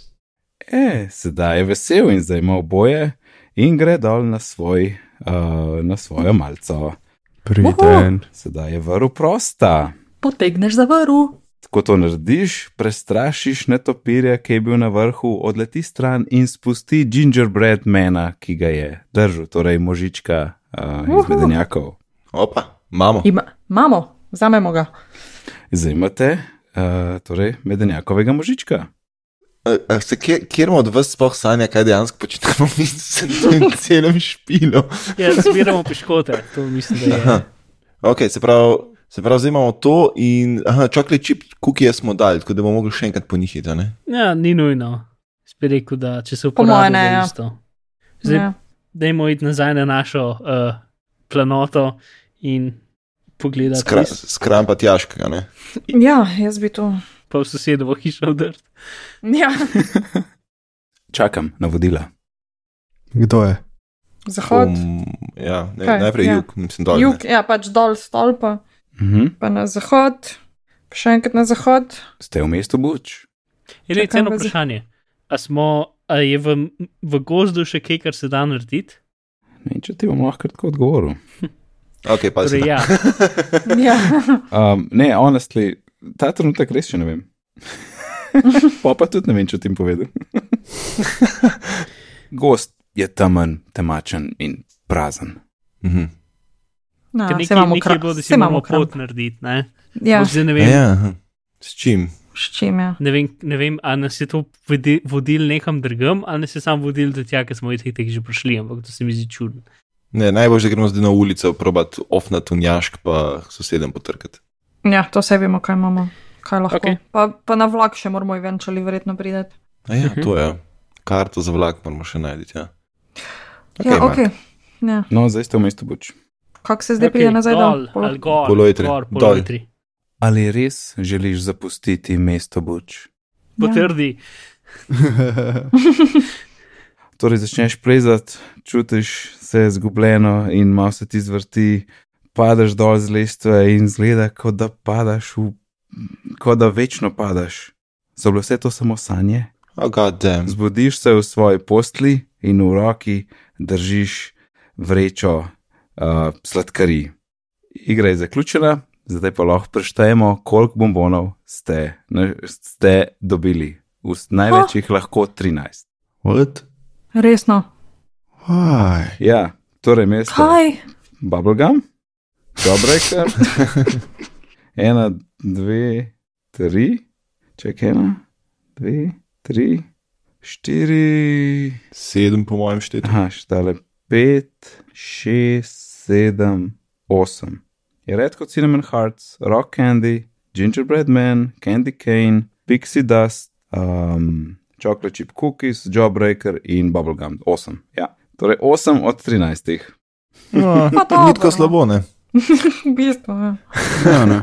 A: E, sedaj je vesel in zdaj ima oboje in gre dol na, svoj, uh, na svojo malco.
E: Priden.
A: Sedaj je vrl prosta.
D: Potegneš za vrv.
A: Ko to narediš, prestrašiš netopirja, ki je bil na vrhu, odleti stran in spusti gingerbread mena, ki ga je držal, torej možička uh,
D: Uhu.
A: iz medenjakov.
C: Opa, imamo.
D: Ima, imamo, vzamemo ga.
A: Zdaj imate uh, torej medenjakovega možička.
C: A- a Se kje- kjer od vas sploh sanja, kaj dejansko počnemo mi s tem celem špilom?
B: Ja, zbiramo piškote, to mislim, da je.
C: Aha. Ok, se pravi, se pravi, zdaj imamo to in čakle čip, kukije smo dali, tako da bomo mogli še enkrat po njih iti, a ne?
B: Ja, ni nujno. Spet rekel, da če se
D: Po moje
B: uporabi, da
D: ne,
B: je
D: ja.
B: isto. Zdaj,
D: Ja.
B: dajmo iti nazaj na našo uh, planoto in pogledati,
C: Skra,
B: res,
C: skram pa tjaškega, ne?
D: ja, jaz bi to.
B: pa v sosedovo hišo vdrt.
D: Ja.
A: Čakam na vodila.
E: Kdo je?
D: Zahod,
C: Um, ja, ne,
D: Kaj,
C: najprej
D: ja.
C: ja. jug, mislim, dol. ne.
D: jug, ja, pač dol stolpa,
A: Mhm.
D: pa na zahod, pa še enkrat na zahod.
A: Ste v mestu Buč?
B: Je le
D: Čakam
B: eno
D: vas-
B: vprašanje. A, smo, a je v, v gozdu še kaj, kar se da narediti?
A: Ne, če ti bom lahko kratko odgovoril.
C: Ok, pa se.
B: Torej,
C: da.
B: ja,
D: Ja.
A: Um, ne, honestly, ta trenutek res še ne vem. pa pa tudi ne vem, če ti jim povedal. Gost je temen, temačen in prazen.
C: Mhm.
D: No,
B: ker
D: saj
B: nekaj,
D: imamo
B: nekaj je
D: kram-
B: bilo, da si
D: saj imamo
B: moramo
D: kram.
B: pot narediti. Ne?
D: Ja,
B: Ampak Zdaj ne
C: Ja,
B: vem,
C: ja, aha. s čim?
D: s čim ja. je.
B: ne vem, ne vem a nas je to vodi- vodil nekam drugam, ali nas je sam vodil do tja, ker smo jih teh že prišli, ampak to se mi zdi čudno.
C: Ne, najbolj, da gremo zdaj na ulico, probat ofnat unjašk, pa sosedem potrkati.
D: Ja, to vse vemo, kaj imamo, kaj lahko.
B: Okej.
D: Okay. Pa, pa na vlak še moramo eventually verjetno priti.
C: A ja,
B: Mhm.
C: to je. Karto za vlak moramo še najti, ja.
D: Ja,
C: Mark.
D: ok. Ja.
A: No, zdaj ste v mestu Buč.
D: Kako se zdaj okay, pride nazaj dol? Ja.
B: dol? ali Gor,
C: Polojtri,
B: gor,
C: dol.
B: polojtri.
A: Ali res želiš zapustiti mesto Buč?
B: Potrdi,
A: Torej, začneš plezati, čutiš se izgubljeno in malo se ti zvrti, padeš dol z lestve in zgleda, kot da padaš, v, kot da večno padaš. So bile vse to samo sanje?
C: Oh, god damn.
A: Zbudiš se v svoji postli in v roki držiš vrečo uh, sladkarij. Igra je zaključena, zdaj pa lahko preštejemo, koliko bombonov ste, na, ste dobili. V s- Največ jih lahko 13.
E: What?
D: Resno.
E: Why?
A: Ja, torej mesto.
D: Kaj?
A: Bubblegum, dobro je. Ena, dve, tri, čekaj, ena, dve, tri, štiri,
C: Sedem, po mojem, štetu.
A: aha, štale pet, šest, sedem, osem. Je redko Cinnamon Hearts, Rock Candy, Gingerbread Man, Candy Cane, Pixie Dust, um, Chocolate Chip Cookies, Jawbreaker in Bubblegum. Osem. Ja. Torej osem od trinajstih.
C: No,
D: dobro,
C: ni tako
D: no.
C: slabo, ne?
D: V bistvu. ja.
E: Ja, ne.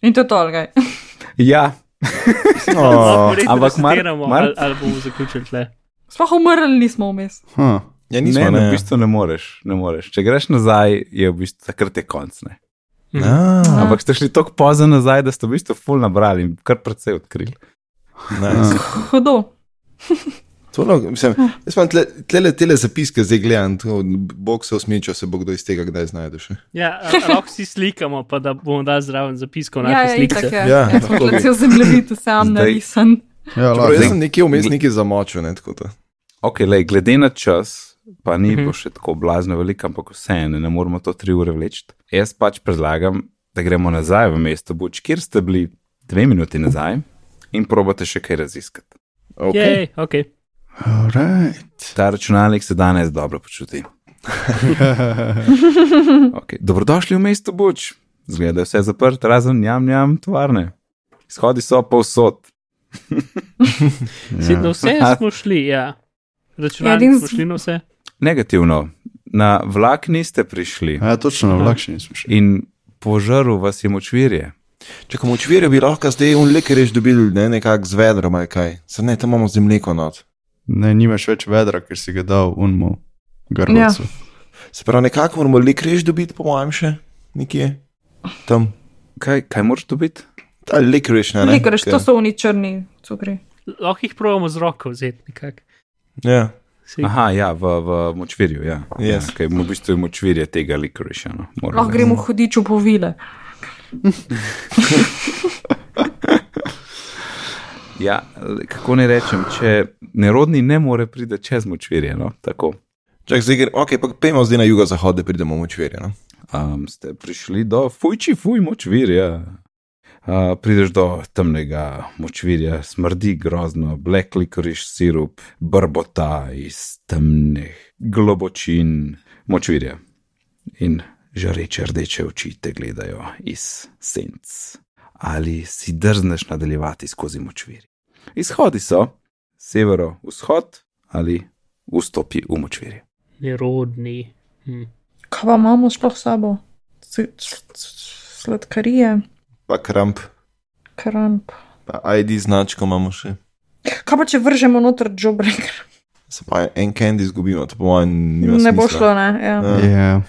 D: In to je tolgaj.
A: Ja,
C: No,
A: ampak
B: ampak
A: Mar-
B: malo
A: Mar-
B: ali, ali bomo zaključili tle.
D: Sploh umrli nismo vmes.
E: Huh.
C: ja,
A: Nismo, ne, ne,
C: ja.
A: v bistvu ne moreš, ne moreš. Če greš nazaj, je v bistvu takrat je konc. Ne?
C: Ah,
A: Ampak ste šli tako pozno nazaj, da ste v bistvu ful nabrali in kar precej odkrili.
C: nice.
D: Hudo.
C: To lahko- mislim, Jaz imam tle- tlele tele zapiske, zdaj gledam, tako, bog se usmičil, se bo kdo iz tega kdaj znajde še.
B: Ja, a- a lahko si slikamo, pa da bomo dali zraven zapiskov na
D: Ja,
B: te
D: je itak
B: slike.
D: je.
C: Ja,
D: Ja, Jaz sem
C: lahko
D: bila
C: bi.
D: cel zemljevid, sam
A: Zdaj-
D: narisan.
E: Ja,
C: Čeprav jaz
E: lahko.
C: sem nekje vmes nekaj zamočil, ne tako. Da.
A: Ok, lej, glede na čas, pa ni
B: Mhm.
A: bo še tako blazno veliko, ampak vseeno ne moramo to tri ure vleči. Jaz pač predlagam, da gremo nazaj v mesto Buč, kjer ste bili dve minuti nazaj in probate še kaj raziskati.
C: Okay.
B: Jej, ok.
E: Alright.
A: Ta računalnik se danes dobro počuti. Okay. Dobrodošli v mestu Buč. Zgleda, da je vse zaprt, razen jam, jam, tovarne. Izhodi so povsod.
B: Sed
E: Ja.
B: na vse smo šli, ja.
D: Edin
B: Računalnik smo
D: z-
B: šli na vse.
A: Negativno, na vlak niste prišli
E: Ja, točno, vlak še nismo šli.
A: in požrl vas je močvirje.
C: Če komu čvirje bi lahko zdaj un leker rež dobil, ne nekako z vedrom ali kaj. Sad ne, tam imamo z mleko not.
E: Ne, nimaš več vedra, ker si ga dal unmo. Garbacu.
C: Se pravi, nekako moramo leker rež dobiti, po mojem, še nekje. Tam.
A: Kaj, kaj moraš dobiti?
C: Ta leker rež, Ja, ne. ne,
D: Likoreš,
C: ker-
D: to so oni črni cukri.
B: Lahko jih provamo z roko vzeti nekako.
C: Ja.
B: Saj-
A: Aha, ja, v, v močvirju. Ja.
C: Yes.
A: Ja, kaj, v bistvu je močvirje tega likoriša. No, moram
D: Lahko gremo hudiču po vile.
A: reči. ja, le- kako ne rečem, če nerodni ne more priti čez močvirje. No, tako.
C: Čak, zdaj, gre- ok, pa pejmo zdaj na jugozahod, da pridemo v čvirje. No?
A: Um, ste prišli do fujči, fuj močvirja. Uh, prideš do temnega močvirja, smrdi grozno, black licorice sirup, brbota iz temnih globočin močvirja. In žareče rdeče oči te gledajo iz senc. Ali si drzneš nadaljevati skozi močvirje? Izhodi so severo-vzhod ali vstopi v močvirje.
B: Nerodni. Hm.
D: Kaj pa imamo sploh s sabo? S- s- s- Sladkarije,
C: Pa kramp,
D: kramp.
C: pa ID značko imamo še.
D: Kaj pa če vržemo noter džobrek?
C: Se pa en candy izgubimo, to po mojem nima
D: Ne bo
C: smisla.
D: šlo, ne. Ja.
C: Ja.
E: Ja.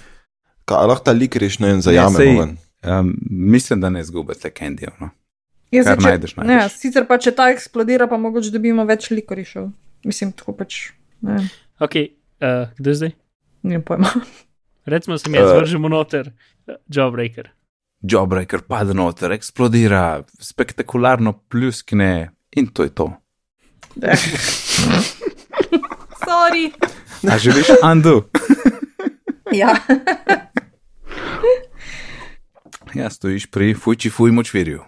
C: Ka, a lahko ta liker rež ne en
A: sej-
C: zajamemo ven.
A: Um, mislim, da ne zgubite kendijev. No?
D: Jaz
A: Kar
D: zdaj, če-
A: najdeš, najdeš.
D: Ne, Ja, sicer pa če ta eksplodira, pa mogoče dobimo več likorišev. Mislim, tako pač. Ne, vem,
B: Ok, uh, kdo je zdaj?
D: nimam pojma.
B: Recimo se mi jaz
C: Eh.
B: vržemo noter, uh, Jawbreaker.
A: Jawbreaker pade noter, eksplodira, spektakularno pljuskne in to je to.
D: Ja. Sorry.
A: A želiš undo?
D: Ja.
A: ja, stojiš pri fujči fuj močvirju.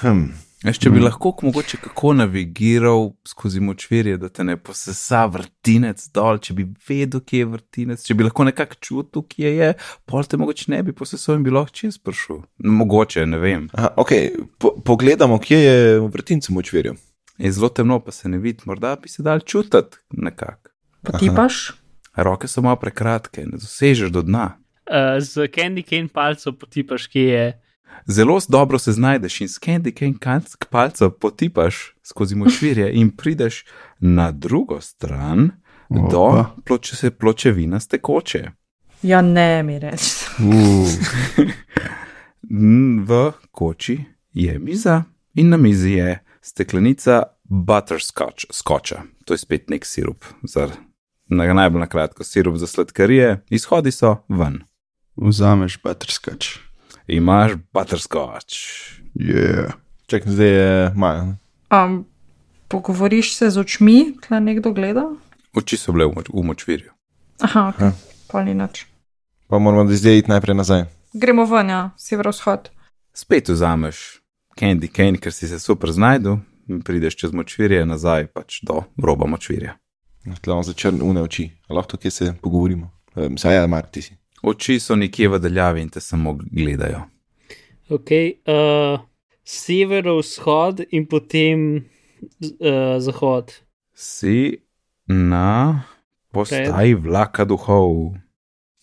C: Hm.
A: Veš, če bi lahko k- mogoče kako navigiral skozi močvirje, da te ne posesa vrtinec dol, če bi vedel, kje je vrtinec, če bi lahko nekako čutil, kje je, pol te mogoče ne bi posesal in bi lahko čez prišel. No, Mogoče, ne vem.
C: Aha, ok, po, pogledamo, kje je v vrtincu močvirju.
A: Je zelo temno, pa se ne vidi, morda bi se dal čutiti nekako.
D: Potipaš?
A: Roke so malo prekratke, ne dosežeš do dna.
B: Uh, z Candy Cane palcem potipaš, kje je.
A: Zelo dobro se znajdeš in s Candy Cane kanc- palca potipaš skozi močvirje in prideš na drugo stran do
E: Opa.
A: ploče, se pločevina stekoče.
D: Ja, ne mi reči.
A: N- V koči je miza in na mizi je steklenica butterscotcha. skoča. To je spet nek sirup za na najbolj na kratko, sirup za sladkarije, izhodi so ven.
E: Vzameš baterskač.
A: Imaš butterscotch.
E: Yeah.
C: Čakaj, zdaj je maja. ne?
D: Um, pogovoriš se z očmi, tle nekdo gleda.
A: Oči so bile v moč- v močvirju.
D: Aha, okay.
C: Ja.
D: pa ni nič.
C: Pa moramo zdaj iti najprej nazaj.
D: Gremo ven, ja, severovzhod.
A: Spet vzameš candy cane, ker si se super znajdel, in prideš čez močvirje nazaj pač do roba močvirja.
C: Tla za črne une oči. A Lahko kje se pogovorimo. Um, saj, ja, Mark, ti si.
A: Oči so nekje v daljavi in te samo gledajo.
B: Okay, uh, Severovzhod in potem uh, zahod.
A: Si na postaji vlaka duhov.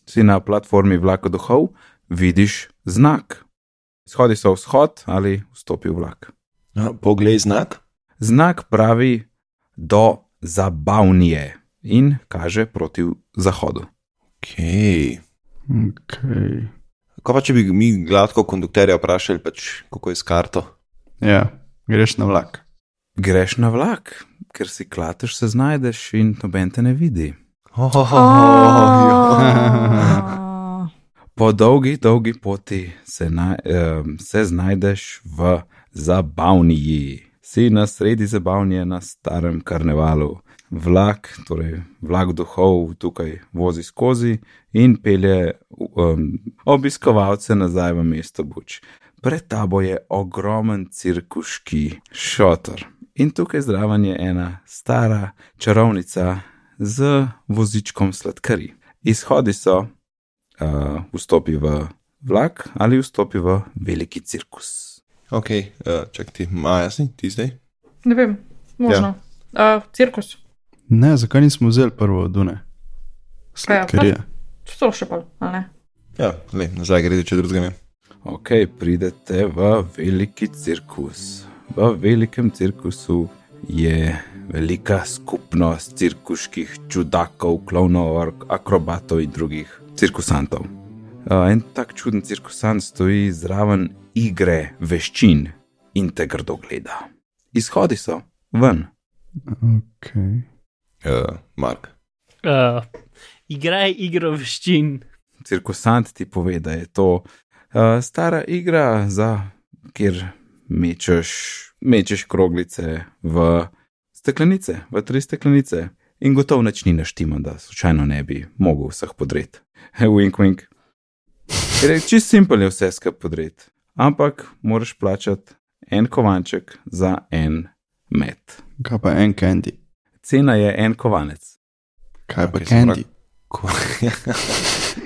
A: Si na platformi vlaka duhov, vidiš znak. Izhodi so vzhod ali vstopi v vlak.
C: A, No, poglej znak.
A: Znak pravi do zabavnije in kaže proti zahodu.
C: Okay.
E: Okay.
C: Ko pa če bi mi gladko konduktorja vprašali, pač, kako je s karto?
E: Ja, greš na vlak.
A: Greš na vlak, ker si klateš, se znajdeš in noben te ne vidi.
C: Oh,
D: Oh, Ah.
A: Po dolgi, dolgi poti se, na, eh, se znajdeš v zabavniji. Si na sredi zabavnije na starem karnevalu. Vlak, torej vlak duhov tukaj vozi skozi in pelje um, obiskovalce nazaj v mesto Buč. Pred tabo je ogromen cirkuški šotor in tukaj zraven je ena stara čarovnica z vozičkom sladkari. Izhodi so uh, vstopi v vlak ali vstopi v veliki cirkus.
C: ok, uh, čak ti, Maja si, ti zdaj.
D: Ne vem, možno. Ja. Uh, cirkus,
E: Ne, zakaj nismo vzeli prvo od Dune? Sladkarija.
D: to še bolj, ali ne?
C: Ja, le, nazaj gre, če drugega ne.
A: Ok, pridete v veliki cirkus. V velikem cirkusu je velika skupnost cirkuških čudakov, klovnov, ar- akrobatov in drugih cirkusantov. Uh, en tak čuden cirkusant stoji zraven igre veščin in te grdo gleda. Izhodi so ven.
E: Okay.
C: Uh, Mark.
B: Uh, igraj igro veščin.
A: cirkusant ti pove, da je to uh, stara igra, za, kjer mečeš, mečeš kroglice v steklenice, v tri steklenice. In gotovo nič ni naštima, da slučajno ne bi mogel vseh podreti. wink, wink. Ker je čist simpel je vse skupaj podreti. Ampak moraš plačati en kovanček za en met.
E: Kaj pa en candy?
A: Cena je en kovanec.
E: Kaj pa
C: Okay, sem
E: candy?
C: Ko...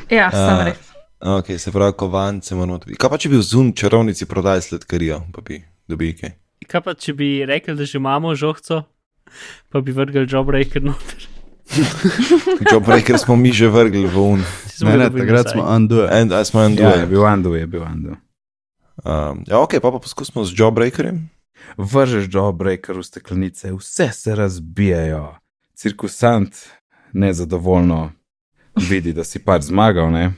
D: Ja, sem
C: Ah.
D: res.
C: ok, se pravi, kovance moramo tudi. Kaj pa če bi v zun čarovnici prodajali sladkarijo, pa bi dobili kaj?
B: Kaj pa, če bi rekli, da že imamo žohco, pa bi vrgli no, jobbreaker noter.
C: Job Breaker smo mi že vrgli v un.
B: Saj smo ga
E: Ne, ne,
B: dobili
E: takrat
B: nazaj.
E: smo e, undue.
C: En, a smo en
A: Ja, je
C: duel.
A: bil Andu, je bil Andu.
C: Um, ja, ok, pa pa poskusimo z Job Breakerjem.
A: vržeš jawbreaker v steklenice, vse se razbijajo. Cirkusant nezadovoljno vidi, da si pač zmagal, ne?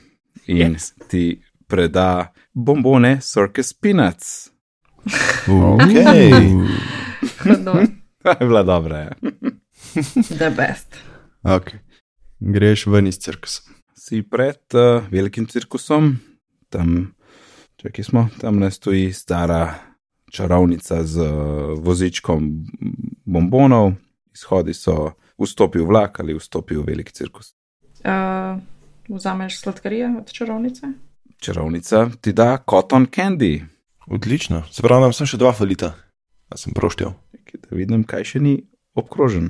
A: in yes. ti preda bombone Circus Peanuts.
C: Okej.
D: Hudo.
A: To je bila dobra. ja. Je.
D: The best.
E: Okay. Greš ven iz cirkusa.
A: Si pred uh, velikim cirkusom, tam, če kje smo, tam ne stoji stara čarovnica z uh, vozičkom bombonov, izhodi so vstopil vlak ali vstopil veliki cirkus.
D: Uh, vzameš sladkarije od čarovnice?
A: čarovnica ti da cotton candy.
C: Odlično, se pravi, nam sem še dva falita. A sem proštel.
A: Čakaj, da vidim, kaj še ni obkrožen.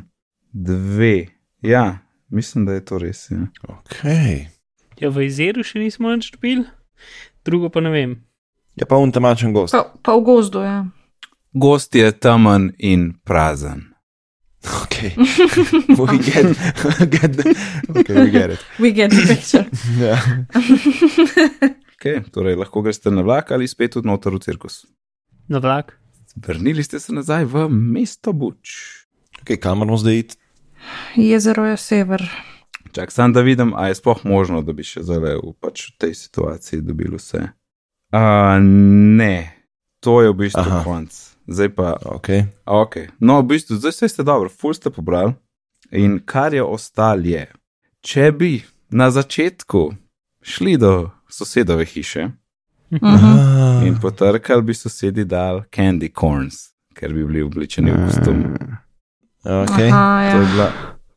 A: Dve. Ja, mislim, da je to res. Ja.
C: Ok.
B: Ja, v jezeru še nismo nič dobili, drugo pa ne vem.
C: Je pa un temačen gost.
D: Pa, pa v gozdu, ja.
A: Gost je temen in prazen.
D: Oh.
C: Ok. We get, get the, ok, we get it.
D: We get the picture.
C: Ja.
A: Okay, torej, lahko greste na vlak ali spet v noter v cirkus.
B: Na vlak.
A: Vrnili ste se nazaj v mesto Buč.
C: Ok, kamor moramo zdaj iti?
D: Jezero je sever.
A: Čak sam, da vidim, a je sploh možno, da bi še zdaj v pač v tej situaciji dobil vse. A, ne, to je v bistvu
C: Aha.
A: konc. Zdaj pa
C: Ok.
A: Ok, no, v bistvu zdaj vse ste dobro, ful ste pobrali. In kar je ostalo je, če bi na začetku šli do sosedove hiše
D: Mhm.
C: Ah.
A: in potrkali, bi sosedi dal candy corns, ker bi bili oblečeni v kostum.
E: Ah.
C: Okay.
D: Aha, ja.
C: To je bila.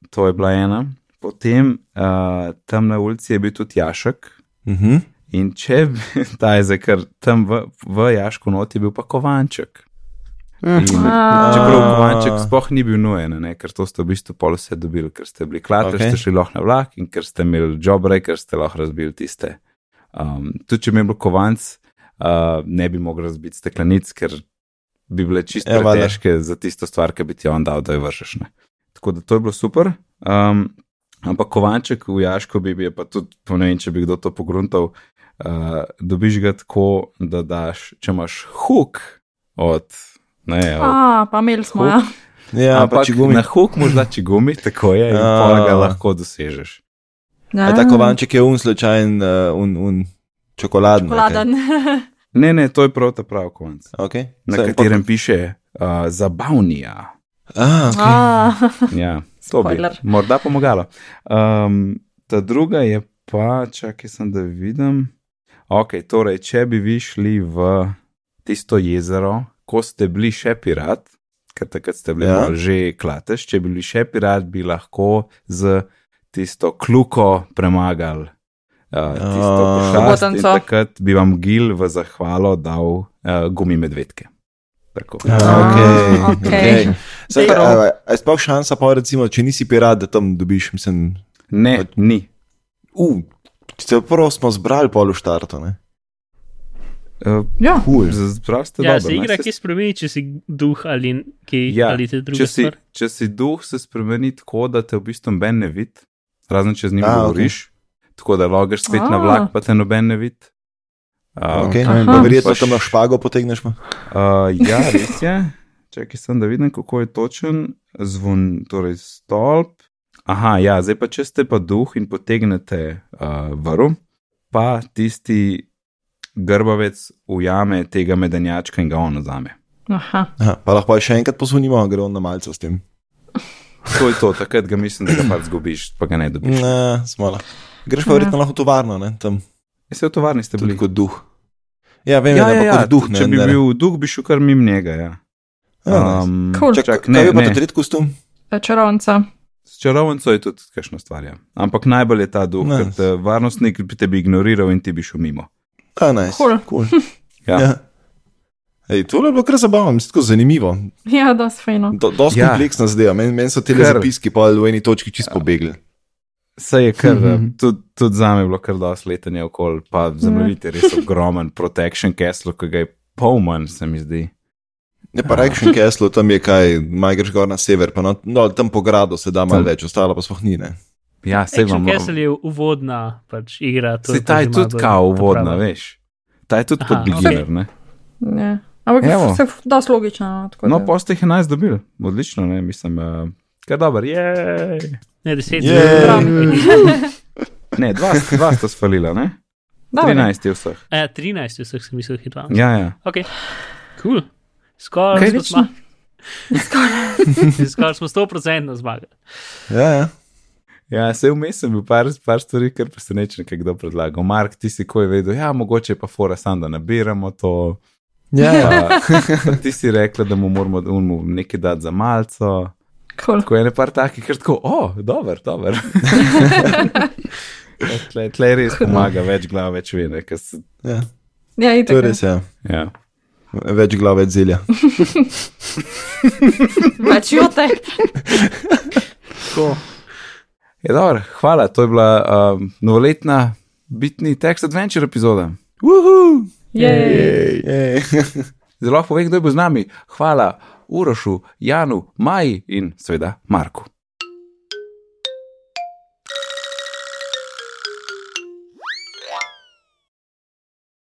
A: To je bila ena. Potem uh, tam na ulici je bil tudi jašek.
C: Uh -huh.
A: In če bi ta je zdaj, ker tam v, v Jašku noti je bil pa kovanček. In,
D: Ah.
A: čeprav kovanček sploh ni bil nujen, ne, ker to ste v bistvu pol vse dobili, ker ste bili klati, okay.
C: Okej.
A: ste šli lahko na vlak in ker ste imeli džobre, ker ste lahko razbili tiste. Um, tudi če bi imel kovanc, uh, ne bi mogel razbiti steklenic, ker bi bile čisto
C: Ja, valjda.
A: težke za tisto stvar, ki bi ti jo on dal, da jo vržeš. Ne. Tako da to je bilo super. Um, ampak kovanček v Jašku bi bil, pa tudi, pa ne vem, če bi kdo to pogruntal, uh, dobiš ga tako, da daš, če imaš huk od. Ne, od
D: A, pa imeli smo,
A: Huk.
D: ja.
C: Ja,
A: Ampak
C: ampak če gumi.
A: Na huk morda če gumi, tako je, in
C: Ja.
A: pa ga lahko dosežeš.
D: ja.
C: A ta kovanček je un slučajen, uh, un, un čokoladen.
D: Vladan.
A: Ne, ne, to je prav ta pravi konc.
C: Okay.
A: Na
C: Saj,
A: katerem piše uh, zabavnija.
C: Pa... Ah, okay.
D: A,
A: Ja, to bi
D: Spoiler.
A: morda pomagalo. Um, ta druga je pa, čakaj, sem da vidim. Ok, torej, če bi vi šli v tisto jezero, ko ste bili še pirat, ker takrat ste bili
C: Ja.
A: ja. že klateš, če bi bili še pirat, bi lahko z tisto kljuko premagali. Uh, tisto
C: Ah.
A: pošast in
D: Pobotanco.
A: takrat bi vam Gil v zahvalo dal uh, gumi medvedke. Tako.
C: Ah,
D: Ah,
C: ok,
D: okej.
C: ok. Saj, a- a- a Je sploh šansa, pa recimo, če nisi pirat, da tam dobiš, mislim,
A: Ne, ni.
C: uh, če prvo smo zbrali pol v štartu. ne?
A: Uh,
D: ja.
A: Cool. Prav ste
B: Ja,
A: dobro.
B: se
A: ne,
B: igra,
A: saj
B: ki spremeni, če si duh ali kaj
A: Ja,
B: ali te druge
A: če si,
B: stvari.
A: če si duh, se spremeni tako, da te v bistvu noben ne vidi, razen če z njim
C: A, okej.
A: govoriš. Tako da logaš spet na
D: A.
A: vlak, pa te noben ne vidi. Uh,
C: Okay.
E: Aha.
C: Pa Verjetno
A: Paš-
C: tam na špago potegneš. pa?
A: Uh, ja, res je. Čakaj, sem da vidim, kako je točen zvon, torej stolp. Aha, ja, zdaj pa če ste pa duh in potegnete uh, vrv, pa tisti grbavec ujame tega medenjačka in ga on vzame.
D: Aha.
C: Aha, pa lahko pa še enkrat pozvonimo, gre on na malce s tem.
A: To je to, takrat ga mislim, da ga pač zgubiš, pa ga ne dobiš.
C: Ne, smola. Greš pa verjetno lahko v tovarno, ne? tam
A: Ja, Se v tovarni ste
C: tudi
A: bili.
C: kot duh. Ja, vem, ja, ja, ja, kot duh. Ne,
A: če bi
C: ne, ne.
A: bil duh, bi šel kar mim njega. Ja.
C: Ja, um,
A: Um,
D: Cool.
C: čak, čak,
A: ne,
C: ne, kaj je pa
A: ne.
C: ta tretji kostum?
D: Čarovnica.
A: S čarovnico je tudi kakšna stvar. Ja. Ampak najbolj je ta duh,
C: Ne.
A: ker te varnostnik bi te bi ignoriral in ti bi šel mimo.
C: A, nice.
D: Cool.
C: cool.
A: Ja.
C: ja. Ej, tole je bilo kar zabavno, mislim, tako zanimivo.
D: Ja, da, sfejno.
C: Do, dosti
A: Ja.
C: ja. kompleksna zadeva. Meni men so te
A: Kar.
C: zapiski pa v eni točki čisto pobegli.
A: Saj je kar, eh,
E: Mhm.
A: tudi tud za me je bilo kar dosti letanja okol, pa zemljevit je res ogromen protection castle, ki ga je pol manj, se mi zdi.
C: Ne pa Reaction Castle, tam je kaj, majgrš gor na sever, pa no, no, tam po gradu se da malo
A: Tam.
C: več, ostalo pa sploh ni. Ne?
A: Ja, sej
B: Action
A: vam
B: Castle je uvodna pač, igra. to
A: Se
B: pa
A: ta
B: že
A: je
B: malo
A: tudi
B: bolj
A: kao uvodna,
B: ta prava.
A: veš. Ta je tudi
B: Aha,
A: pod beginner, ne.
D: Ja. Ampak
A: Evo.
D: je se dosti logično. No, tako
A: No,
D: da-
A: pa ste jih 11 dobili, odlično, ne, mislim, uh, kaj dober, je.
B: Ne, deset
C: Jej.
B: je.
A: Ne, dva, dva sta svalila, ne?
D: Dobro.
A: 13 je vseh.
B: Ja, 13 vseh sem mislil, hitro.
A: Ja, ja.
B: Ok, cool. Skoraj
A: Kaj
B: smo
A: lično?
B: zmagali. Skoraj smo 100% zmagali.
C: Ja, ja.
A: Ja, se vmes sem bil par, par stvari, ker presenečen, kaj kdo predlagal. Mark, ti si ko je vedel, ja, mogoče je pa fora sam, da nabiramo to.
C: ja, ja.
A: Pa, pa ti si rekla, da mu moramo da mu nekaj dati za malco.
D: Cool.
A: Tako je ne par takih, ker tako, o, dober, dober. Ja, tle, tle res pomaga, več glav, več vene. ker se-
C: ja.
D: Ja,
C: To je
D: itak.
C: res, ja.
A: Ja.
C: Več glav, več zelja.
D: Pač jute.
B: Tako.
A: Je dobro, hvala, to je bila um, novoletna bitni Text Adventure epizoda.
C: Uhu!
D: Jej.
C: Ej.
A: Zelo lahko povem, kdo je bil z nami. Hvala Urošu, Janu, Maji in seveda Marku.